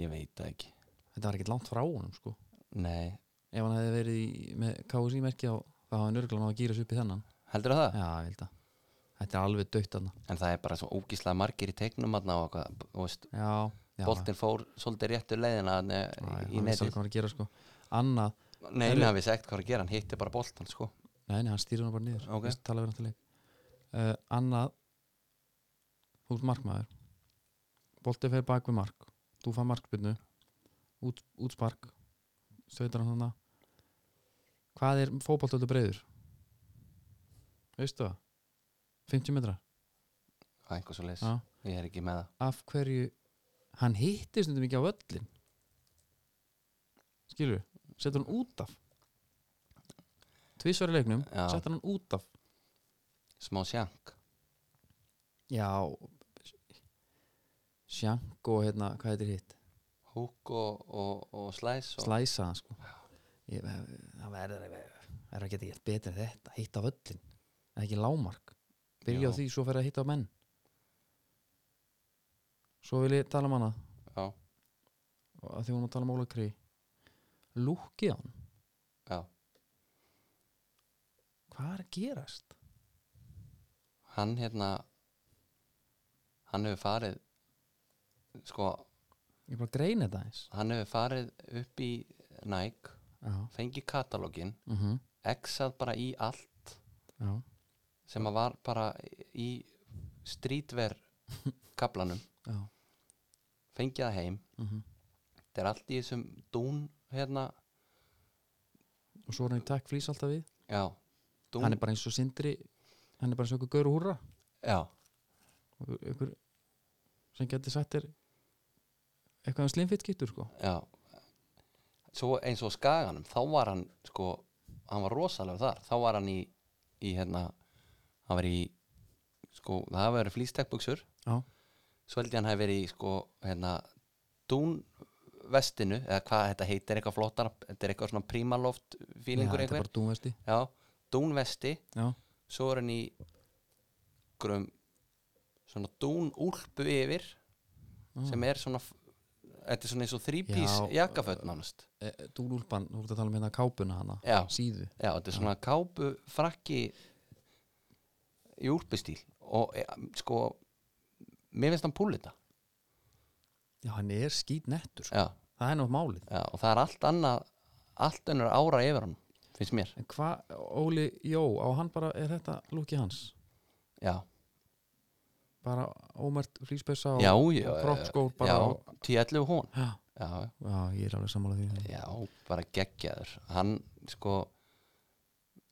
S2: ég veit það ekki
S1: Þetta var ekkert langt frá honum sko
S2: nei,
S1: Ef hann hefði verið í, með KSI-merki á þá hafði nörglan á að gýra sig upp í þennan
S2: heldur það?
S1: Já, ég held að Þetta er alveg dögt hann
S2: en það er bara svo ógíslega margir í teiknum þarna og hvað, þú veist,
S1: Já, já
S2: boltinn fór svolítið réttu leiðina þarna
S1: já,
S2: í-
S1: hann
S2: í
S1: vissi alveg
S2: netið
S1: hvað hann var að gera sko Annað,
S2: nei, hann hafi sagt hvað er að gera, hann hitti bara boltan sko.
S1: nei, nei, hann stýrur hann bara niður
S2: Ok.
S1: Vist, tala við náttúrulega uh, Annað Þú ert markmaður Boltið fer bak við mark Þú fær markbyrnu út, Útspark Sveitar hann hann Hvað er fótboltöldu breiður? Veistu það? 50 metrar?
S2: það er einhver svo leis,
S1: Já.
S2: ég er ekki með það
S1: af hverju hann hittir stundum ekki á völlin skilur við setur hann út af tvísvar í leiknum,
S2: Já.
S1: setur hann út af
S2: smá sjank,
S1: já sjank og hérna, hvað heitir hitt
S2: húk og, og, og slæs og,
S1: slæsa hann sko Ég, það verður að verður að geta gett betur en þetta, hitta á völlin en ekki lámark, byrja á
S2: Já.
S1: því svo fer að hitta á menn svo vil ég tala um hana
S2: já,
S1: og að því hún var að tala um Óla Kri lúkið á hann
S2: já
S1: hvað er að gerast?
S2: hann hérna hann hefur farið sko,
S1: ég bara greina þetta eins
S2: hann hefur farið upp í Nike,
S1: já,
S2: fengið katalógin
S1: mm
S2: exað bara í allt
S1: já,
S2: sem að var bara í strítver kaplanum,
S1: já
S2: fengið það heim
S1: mm
S2: þetta er allt í þessum dún hérna,
S1: og svo er hann í takk flýs alltaf við
S2: já dún,
S1: hann er bara eins og sindri hann er bara eins og einhver gaur og húrra
S2: já,
S1: Einhver- einhver sem getur sagt þér eitthvað um slimfitt getur sko
S2: já svo eins og skaganum, þá var hann sko, hann var rosalega þar þá var hann í, í hérna hann var í sko, það hafa verið flýstekbuksur
S1: já,
S2: svo held ég hann hafi verið í sko, hérna dún vestinu eða hvað þetta heitir, eitthvað flottar þetta er eitthvað svona prímaloft fílingur
S1: já, þetta er
S2: einhver,
S1: bara dúmvesti
S2: já, dún vesti
S1: já,
S2: svo er hann í grum svona dún úlpu yfir
S1: já.
S2: sem er svona f- þetta er svona eins og þrýbís
S1: Já,
S2: jakkaföt nánast
S1: e, dúnúlpan, þú ert að tala um hérna kápuna hana
S2: já,
S1: síðu
S2: já, þetta er svona kápu frakki í úlpustíl og e, sko mér finnst hann púlita
S1: já, hann er skýt nettur sko.
S2: já,
S1: það er nú málið
S2: já, og það er allt annað allt önnur ára yfir hann finnst mér,
S1: en hvað, Óli, jó, á hann bara er þetta lúkið hans
S2: já,
S1: bara ómert flýspessa og,
S2: já, já
S1: og kroppskór
S2: já,
S1: bara og,
S2: tíallu hún
S1: já,
S2: já,
S1: já, ég er alveg sammála því
S2: já, bara geggjaður hann, sko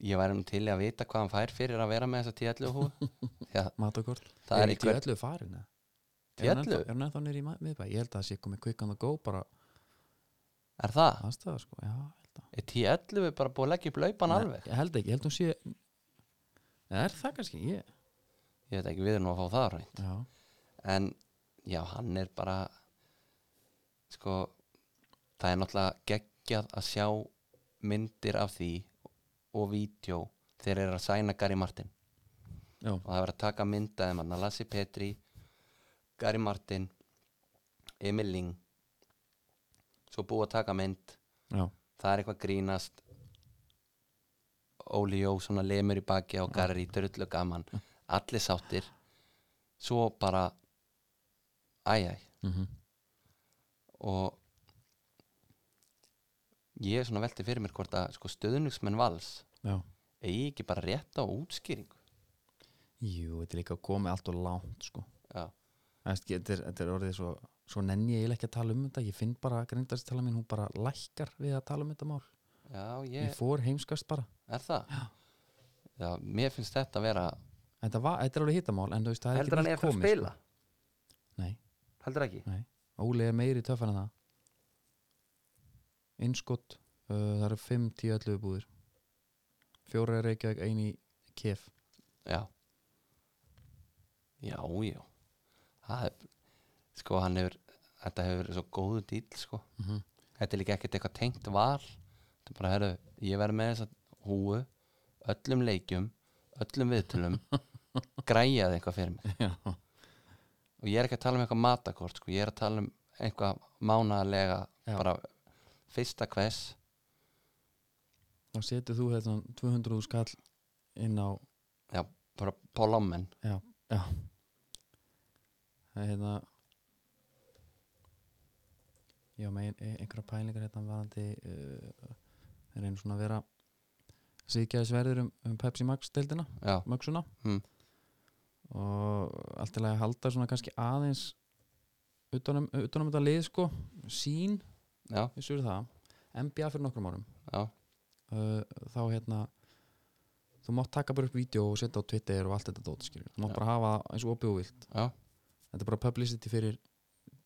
S2: ég væri nú til í að vita hvað hann fær fyrir að vera með þessa tíallu hú já,
S1: matakort,
S2: það er
S1: ekki
S2: einhver
S1: öllu farin eða? er hann
S2: tíallu,
S1: ennþá- er hann ennþá nýri í ma- miðbæ, ég held að það sé komið quick on the go bara
S2: er það?
S1: aðstæða sko, já, ég held að
S2: er tíallu bara búið að leggja upp laupan
S1: Nei,
S2: alveg?
S1: ég held ekki, ég held hún sé Nei, er það kannski, ég
S2: ég veit ekki við erum nú að fá það á hreint
S1: já,
S2: en já, hann er bara sko það er náttúrulega geggjað að sjá myndir af því og vídeo þegar er að sæna Gary Martin
S1: já,
S2: og það var að taka myndaði manna Lassi Petri, Gary Martin Emil Ling svo búið að taka mynd
S1: já,
S2: það er eitthvað grínast Óli Jó svona lemur í baki á Garri, drullu gaman allir sáttir svo bara æjæ
S1: mm
S2: og ég er svona velti fyrir mér hvort að sko, stöðunismenn vals
S1: já
S2: eigi ekki bara rétt á útskýringu
S1: Jú, þetta er líka komið allt og langt sko.
S2: já,
S1: Æst, þetta, er, þetta er orðið svo svo nenni ég eiginlega ekki að tala um þetta ég finn bara að grindastala mín, hún bara lækkar við að tala um þetta mál,
S2: já
S1: ég
S2: ég,
S1: fór heimskast bara
S2: er það já. mér finnst þetta að vera
S1: þetta, var, þetta er alveg hittamál, en þú veist, það er
S2: heldur
S1: ekki
S2: hann
S1: nýtt
S2: eftir að
S1: komið
S2: spila
S1: sko. Nei,
S2: heldur ekki
S1: nei, Óli er meiri töffar en það innskott uh, það eru 5, 10, 11 búðir fjóra er Reykjavík, ein í kef
S2: já já, já það er, sko hann hefur þetta hefur verið svo góðu dýl sko
S1: mm -hmm.
S2: þetta er líka ekkert eitthvað tengt val þetta er bara, herru, ég verð með þess að húu öllum leikjum öllum viðtölum græjaði eitthvað fyrir mig
S1: Já,
S2: og ég er ekki að tala um eitthvað matakort sko. ég er að tala um eitthvað mánaðlega
S1: Já.
S2: bara fyrsta hvers
S1: þá setur þú þetta 200 skall inn á
S2: bara pólommen
S1: það er hérna já, með ein, ein- einhverja pælingar hérna varandi uh, reynir svona að vera síðgæðisverður um, um Pepsi Max deildina,
S2: já,
S1: mögsuna
S2: Mm.
S1: og allt til að halda svona kannski aðeins utanum, utanum þetta lið sko sín,
S2: já,
S1: við sér það NBA fyrir nokkrum árum
S2: já,
S1: uh, þá hérna þú mátt taka bara upp vídeo og setja á Twitter og allt þetta dót skilur, þú mátt
S2: Já.
S1: bara hafa það eins og opið og vilt
S2: já,
S1: þetta er bara publicity fyrir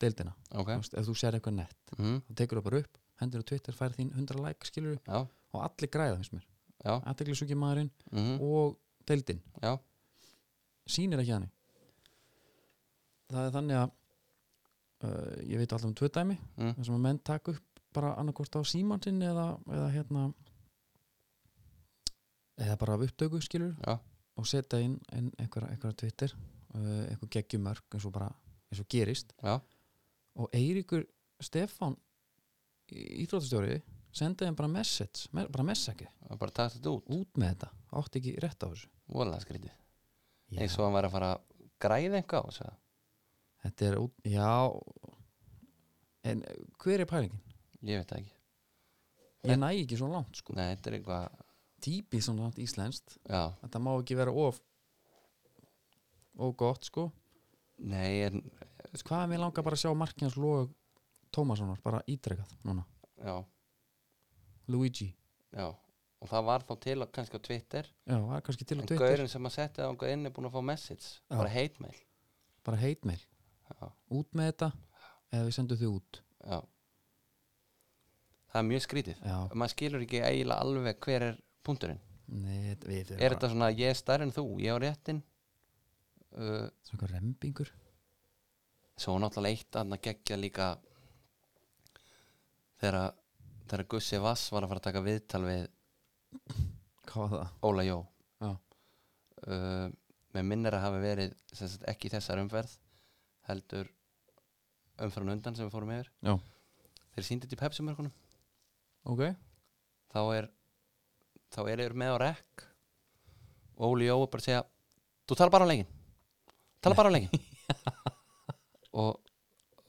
S1: deildina,
S2: ok
S1: þú veist, ef þú sér eitthvað nett
S2: mm,
S1: þá tekur það bara upp, hendur á Twitter, fær þín 100 like skilur
S2: já,
S1: og allir græða finnst mér,
S2: já,
S1: aðtekli sugi maðurinn
S2: mm,
S1: og deildin,
S2: já
S1: sýnir ekki hann það er þannig að uh, ég veit alltaf um tvö dæmi
S2: Mm.
S1: þar sem að menn taka upp bara annarkort á síman sinn eða, eða hérna eða bara af upptöku skilur
S2: já,
S1: og setja inn, inn einhverja, einhverja Twitter uh, einhver geggjumörk eins og bara eins og gerist
S2: Já.
S1: og Eiríkur Stefán íþróttastjóri sendaði þeim bara message me, bara message,
S2: og bara takk þetta út
S1: út með þetta átti ekki rétt á þessu
S2: vola skrítið, eins og hann var að fara að græða eitthvað á þessu eða?
S1: þetta er út, já en eh, hver er pælingin?
S2: ég veit það ekki,
S1: ég næ ekki svona langt sko
S2: nei, þetta er eitthvað
S1: típið svona langt íslenskt,
S2: já,
S1: þetta má ekki vera of og gott sko
S2: nei, en,
S1: Þú veist, hvað er mér langar bara að sjá markins log Tómassonar, bara ítrekað núna
S2: já,
S1: Luigi
S2: já og það var þá til á, kannski á Twitter
S1: Já, það er kannski til
S2: en
S1: og Twitter
S2: gaurinn sem að setja það ánga inn er búin að fá message,
S1: Já.
S2: bara hate mail
S1: bara heit meil,
S2: já,
S1: út með þetta eða við sendum þau út
S2: já það er mjög skrítið
S1: Já,
S2: maður skilur ekki eiginlega alveg hver er punkturinn
S1: nei, þetta- við
S2: er þetta svona ég er stærri en þú, ég á réttin uh,
S1: Svo eitthvað rembingur
S2: svo náttúrulega eitt að gegja líka þegar þegar Gussi Vass var að fara að taka viðtal við
S1: Hvað var það?
S2: Óla Jó
S1: Já.
S2: uh, með minnir að hafa verið sem sagt, ekki í þessar umferð heldur umferðan undan sem við fórum yfir
S1: Já.
S2: þeir sýndi þetta í pepsumörkunum
S1: Ok,
S2: þá er þá er þeir með á rekk og Óli Jó er bara að segja þú tala bara á leikin tala bara á leikin og,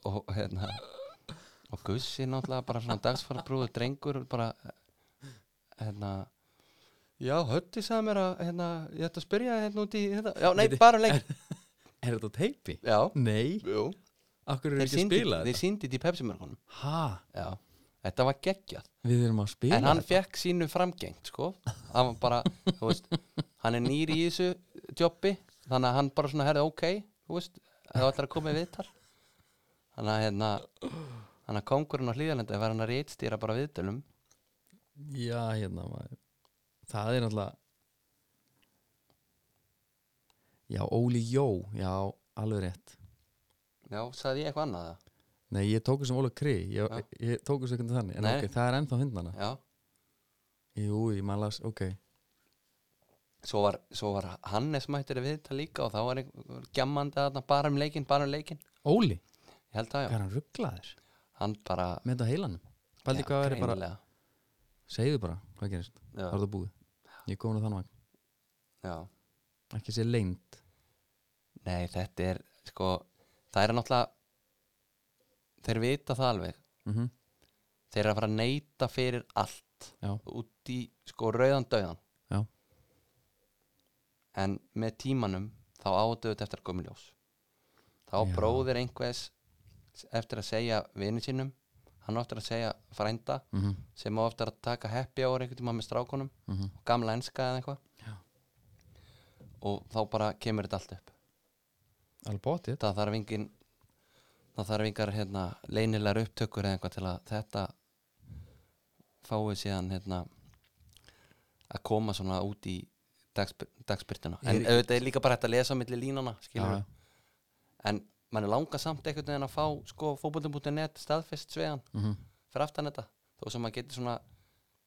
S2: og hérna og Gussi náttúrulega bara svona dagsfarbrúðu drengur bara hérna já, Hötti sagði mér að hérna, ég ætti að spyrja þig hérna út í hérna. já, nei,
S1: Bíddu.
S2: bara um leikin
S1: er þetta á teipi?
S2: já,
S1: Nei,
S2: jú
S1: akkur eru
S2: þeir
S1: ekki að
S2: sýndi
S1: spila
S2: þeir
S1: þetta
S2: sýndi þetta í Pepsi-mörkunum
S1: Ha,
S2: já, þetta var geggjað
S1: við erum að spila
S2: en hann
S1: þetta.
S2: fekk sínu framgengt sko hann var bara, þú veist hann er nýri í þessu jobbi þannig að hann bara svona herði ok þú veist, það ætlar að koma í viðtal þannig að hérna þannig að kongurinn á hlýðalenda var hann að rítstýra bara viðtölum
S1: Já, hérna maður Það er náttúrulega Já, Óli Jó Já, alveg rétt
S2: já, sagði ég eitthvað annað það
S1: Nei, ég tók þessum Óla Kri Ég,
S2: Já.
S1: ég tók þessum ekki þannig En
S2: Nei.
S1: ok, það er ennþá hundana
S2: já,
S1: Jú, ég maður las, ok
S2: svo var, svo var Hannes mættur að við þetta líka og þá var einhver gjammandi að bara um leikinn, bara um leikinn
S1: Óli,
S2: ég held að
S1: hvað
S2: já,
S1: er hann rugglaður
S2: hann bara
S1: með þetta á heilanum Paldi
S2: já,
S1: hvað verið bara,
S2: greinilega.
S1: segðu bara hvað gerist,
S2: Já.
S1: það er það búið Ég er komin á þann vagn,
S2: já.
S1: ekki sé leynd
S2: nei þetta er sko, það er náttúrulega þeir vita það alveg
S1: mm -hmm.
S2: þeir eru að fara að neyta fyrir allt
S1: Já.
S2: út í sko rauðan döðan
S1: Já.
S2: en með tímanum þá ádöðut eftir að komi í ljós þá
S1: Já.
S2: bróðir einhvers eftir að segja vinnu sínum hann á eftir að segja frænda
S1: Mm -hmm.
S2: sem á eftir að taka happy hour einhvern tímann með strákunum
S1: mhm.
S2: og gamla enska eða eitthvað
S1: Já.
S2: og þá bara kemur þetta allt upp
S1: Alveg bótið
S2: það þarf engin það þarf engar hérna, leynilegar upptökur eða eitthvað til að þetta fáið síðan hérna, að koma svona út í dagsbyr, dagsbyrtina en
S1: Ég-
S2: auðvitað er líka bara hægt að lesa á milli línana
S1: Já,
S2: skilur
S1: já.
S2: en mann er langa samt einhvern veginn að fá sko fótboltum.net staðfest sveðan
S1: Mhm.
S2: fyrir aftan þetta þó sem maður getur svona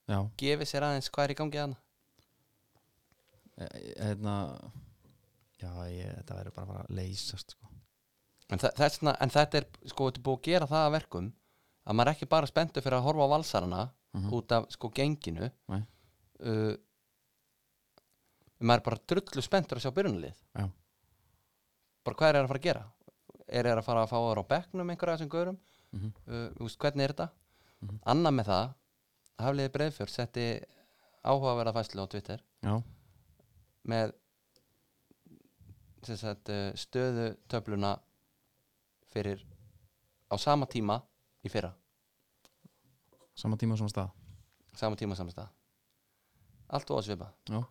S1: Já,
S2: gefið sér aðeins hvað er í gangi þarna
S1: e- e- hérna Já, ég, þetta verður bara að fara að leysast sko.
S2: en, þa- þess, vegna- en þetta er sko þetta er búið að gera það að verkum að maður er ekki bara spenntu fyrir að horfa á valsarana
S1: Mhm.
S2: út af sko genginu
S1: Nei.
S2: uh, maður er bara drullu spenntur að sjá byrjunalið
S1: Já.
S2: bara hvað er það að fara að gera er það að fara að fá það á bekknum einhverja af þessum gaurum
S1: Mhm.
S2: uh, þú veist, hvernig er þetta
S1: Mhm.
S2: annað með það hafliði breyðfjörð setti áhugaverða fæslu á Twitter
S1: Já,
S2: með sem sagt, uh, stöðu töfluna fyrir á sama tíma í fyrra
S1: sama tíma og sama stað
S2: sama tíma saman stað allt og að svipa
S1: Já.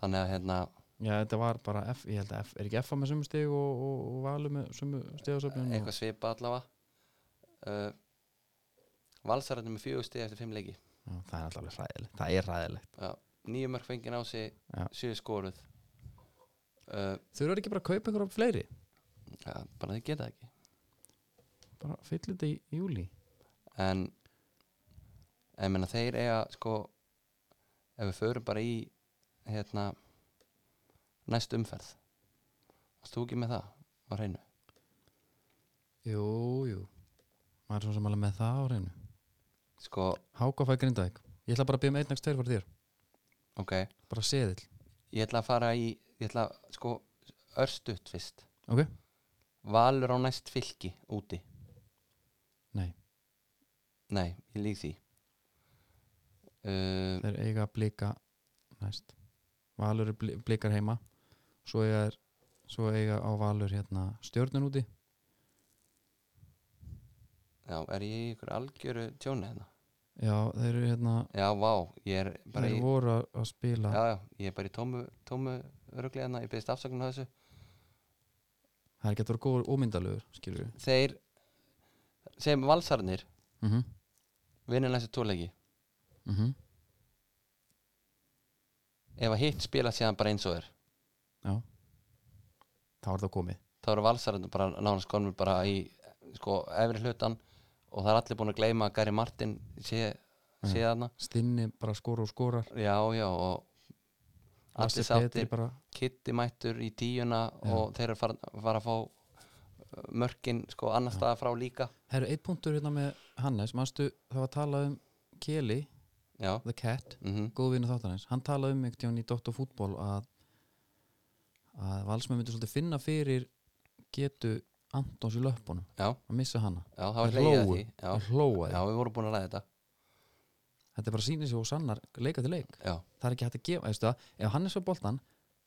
S2: þannig að hérna
S1: Já, þetta var bara F, ég held að F, er ekki F með sömu stig og, og, og Valur með sömu stigasöfnum
S2: eitthvað svipa allavega uh, valsararnir með fjögur stið eftir fimm leiki
S1: Já, það er alltaf alveg hræðilegt Það er hræðilegt
S2: nýju mörg fengið á sig
S1: Já.
S2: sjö skoruð uh,
S1: Þau eru ekki bara að kaupa einhverjum fleiri
S2: ja, bara þið geta það ekki
S1: bara fyllir þetta í í júli
S2: en en menna þeir eiga sko ef við förum bara í hérna næst umferð varst þú ekki með það á hreinu
S1: Jú, jú Maður er svo sem alveg með það á reynu
S2: sko,
S1: Háka fæ grindaðik Ég ætla bara að byrja með einn nægst tveir fyrir þér
S2: ok,
S1: Bara seðil
S2: ég ætla að fara í ég ætla að, sko örstutt fyrst
S1: Ok
S2: Valur á næst fylki úti
S1: Nei.
S2: Nei, ég lík því uh,
S1: Þeir eiga blika næst Valur er bli- blikar heima Svo eiga, er, svo eiga á Valur hérna stjörnun úti
S2: Já, er ég í ykkur algjöru tjóni hérna?
S1: Já, þeir eru hérna
S2: Já, vá, ég er bara
S1: Þeir
S2: í
S1: voru að- að spila
S2: Já, já, ég er bara í tómu, tómu örugli hérna, ég byrðist afsökun á þessu
S1: Það er ekki að vera góður ómyndalögur Skilur við
S2: Þeir, sem valsarnir
S1: mm -hmm.
S2: vinna næstu tóleiki
S1: mhm.
S2: ef að hitt spila síðan bara eins og er
S1: Þá er það komið
S2: þá eru valsarnir bara nánast konum bara í sko, efri hlutan og það er allir búin að gleyma að Gary Martin sé, sé þarna
S1: Stinni bara skora og skorar
S2: Já, já, og
S1: Lasse
S2: allir
S1: Petri
S2: sáttir,
S1: bara
S2: Kitty mættur í tíuna og þeir eru fara, fara að fá uh, mörkin sko annar staða frá líka
S1: Herru, eitt punktur hérna með Hannes Manstu, það var talað um Keli,
S2: Já,
S1: the cat
S2: mhm
S1: góð vinur þáttarins, hann talaði um einhvern tíðan í Dóttu fútból að að valsmenn myndi svolítið finna fyrir getu Antons í löpunum
S2: Já.
S1: að missa hana,
S2: Já, það var
S1: Þeir
S2: hlegið að
S1: hlógu.
S2: því já,
S1: að hlóa
S2: já,
S1: því
S2: við vorum búin að ræða þetta
S1: þetta er bara sýnir sig og sannar leika til leik
S2: Já,
S1: það er ekki hægt að gefa, veistu það, ef hann er svo boltan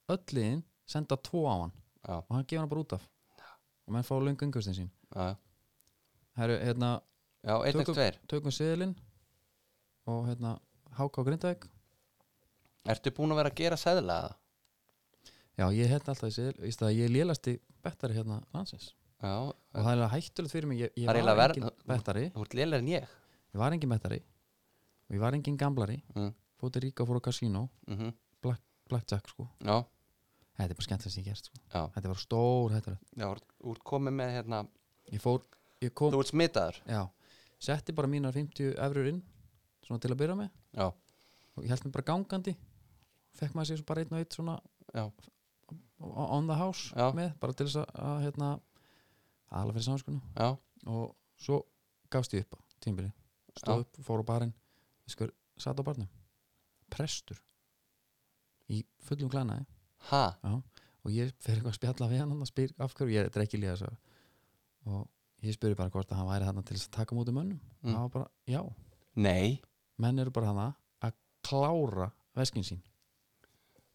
S1: öll liðin senda tvo á hann
S2: já,
S1: og hann gefur hann bara út af og menn fá löngu yngustin sín
S2: já, já.
S1: Herru, hérna,
S2: já einn
S1: Tökum-
S2: eftir tveir
S1: tökum seðilinn og hérna, háká grindaðik
S2: Ertu búin að vera að gera seðla það?
S1: Já, ég held alltaf í seðil í staði að ég lélasti bettari hérna landsins
S2: Já,
S1: og það er alveg hættulegt fyrir mig ég, ég
S2: Það er
S1: var
S2: eiginlega
S1: engin
S2: verð-
S1: bettari
S2: þú ert lélega en ég
S1: ég var engin bettari og ég var engin gamlari
S2: Mm.
S1: fóti ríka og fór á kasínó
S2: mm
S1: blackjack sko
S2: Já,
S1: þetta er bara skemmt þess að ég gert sko
S2: Já.
S1: þetta var stór hættulegt
S2: já, úr, úr komið með hérna
S1: ég fór ég kom
S2: Þú ert smitaður
S1: já setti bara mínar 50 efrur inn svona til að byrja með
S2: Já,
S1: og ég held mér bara gangandi fekk maður sér svo bara einn og einn svona
S2: Já.
S1: o- on the house
S2: Já.
S1: með, bara til þess að, að hérna, aðla fyrir samskuna
S2: já,
S1: og svo gafst ég upp á tímbili stóð upp, fór á barinn skur, satt á barnum prestur í fullum glænaði
S2: ha,
S1: og ég fer eitthvað að spjalla við hann og spyr af hverju, ég er ekki líka þess og ég spyrir bara hvort að hann væri þarna til þess að taka múti mönnum og
S2: Mm.
S1: hann var bara, já,
S2: nei
S1: menn eru bara hana að klára veskin sín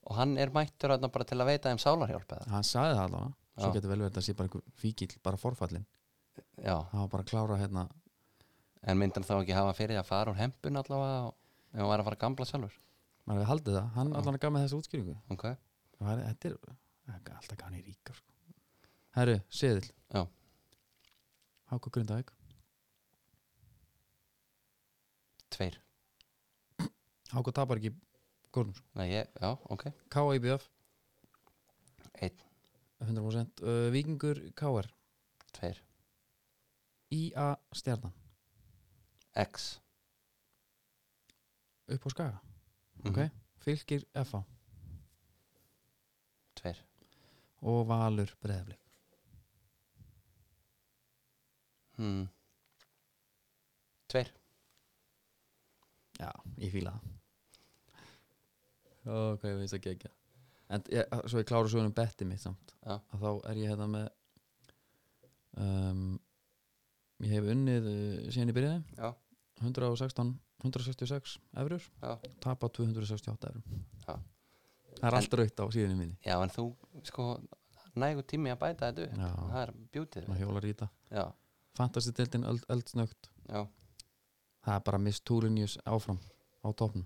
S2: og hann er mættur þarna bara til að veita þeim sálarhjálp eða,
S1: hann sagði það allavega, svo
S2: Já.
S1: getur vel verið að það sé bara einhver fíkil, bara forfallin
S2: já,
S1: hann var bara að klára hérna
S2: en myndi hann þá ekki hafa fyrir því að fara úr hempun allavega og ef hann var að fara að gamla sjálfur
S1: maður hefði haldið það, hann
S2: Já.
S1: allavega gaf með þessa útskýringu
S2: ok,
S1: Það er, þetta er, þetta er alltaf gafni ríkar sko. Herru, seðil
S2: Já.
S1: Háku Grindavík
S2: tveir
S1: Háku tapar ekki Górnum sko.
S2: nei, ég, já, ok,
S1: K.I.B.F.
S2: Einn.
S1: 100% uh, Víkingur K.R.
S2: tveir
S1: I.A. Stjarnan
S2: x
S1: Upp á Skaga
S2: Mhm.
S1: Ok. Fylgir F.A.
S2: tveir,
S1: Og Valur Breðaflik
S2: hmm tveir,
S1: Já, ég fíla það Ok, ég finnst að gegja En ég, svo ég klára sögunum bettið mitt samt
S2: Já.
S1: að þá er ég hérna með um, ég hef unnið uh, síðan ég byrjaði
S2: já,
S1: 116, 166 eurur
S2: Já.
S1: tapa 268 eurum
S2: Já.
S1: Það er
S2: En-
S1: allt raukt á síðunum minni
S2: já, en þú sko, nægur tími að bæta þetta upp.
S1: Já,
S2: það er bjútið
S1: maður hjólar í þetta
S2: já,
S1: Fantasy-deltin öld, eldsnögt
S2: já,
S1: Það er bara Miss Túrinius áfram á topnum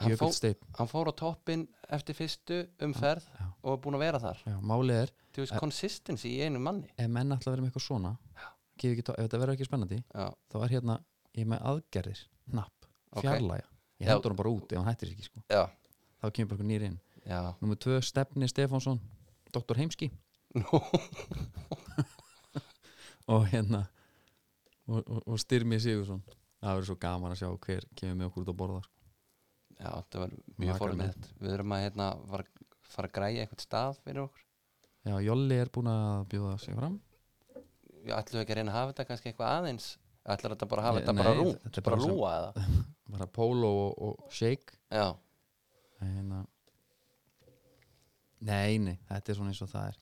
S2: hann fór,
S1: Jökull Steip
S2: hann fór á toppin eftir fyrstu umferð
S1: Já.
S2: og er búin að vera þar
S1: Já, Málið er,
S2: þú veist,
S1: Eh.
S2: consistency í einu manni
S1: ef menn ætla að vera með eitthvað svona gef ekki, to- ef þetta verður ekki spennandi
S2: já,
S1: þá er hérna, ég er með aðgerðir hnapp,
S2: Ok.
S1: fjarlæga ég
S2: Já.
S1: hendur hann bara út ef hann hættir sér ekki sko.
S2: já,
S1: þá kemur bara nýr inn
S2: já
S1: Númer 2, Stefni Stefánsson Dr. Heimski
S2: Nú,
S1: og hérna og, og, og Styrmi Sigursson það verður svo gaman að sjá hver kemur með okkur út að borða sko.
S2: já, þetta var
S1: Makalegt.
S2: mjög fórumett við erum að hérna, var, fara að græja eitthvað stað fyrir okkur
S1: Já, Jolli er búin að bjóða sig fram
S2: við ætlum við ekki að reyna að hafa þetta kannski eitthvað aðeins ætlar þetta bara að hafa
S1: Nei,
S2: þetta
S1: nei,
S2: bara rú
S1: þetta er
S2: bara
S1: bara sem-
S2: lúa eða
S1: bara Polo og, og Shake
S2: já,
S1: En hérna Nei, nei, þetta er svona eins og það er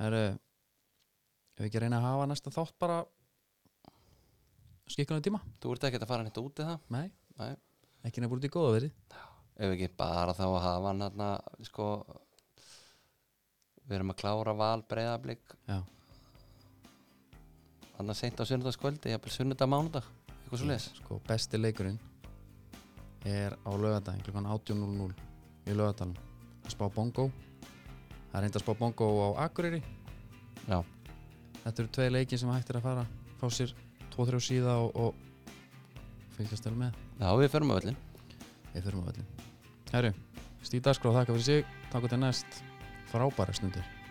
S1: Herru ef við ekki að reyna að hafa næsta þátt bara skikkunum tíma
S2: þú ert ekki að fara neitt út í það
S1: Nei,
S2: Nei.
S1: ekki nefnir út í góða verið
S2: ef við ekki bara þá að hafa hann hérna, sko við erum að klára val breyðablík
S1: Já,
S2: þannig að seint á sunnudagskvöldi, ég hafði sunnudag mánudag eitthvað svo les
S1: Sko, besti leikurinn er á laugardaginn klukkan 18.00 í laugardagnum að spá bongo það er reynd að spá bongo á Akureyri
S2: já,
S1: þetta eru tvei leikir sem hægt er að fara fá sér 2-3 síða og, og fylgjast vel með
S2: já við förum að öllin
S1: við förum á öllum Herru, Stíð Dagskrá þakka fyrir sig takk og til næst frábæra stundir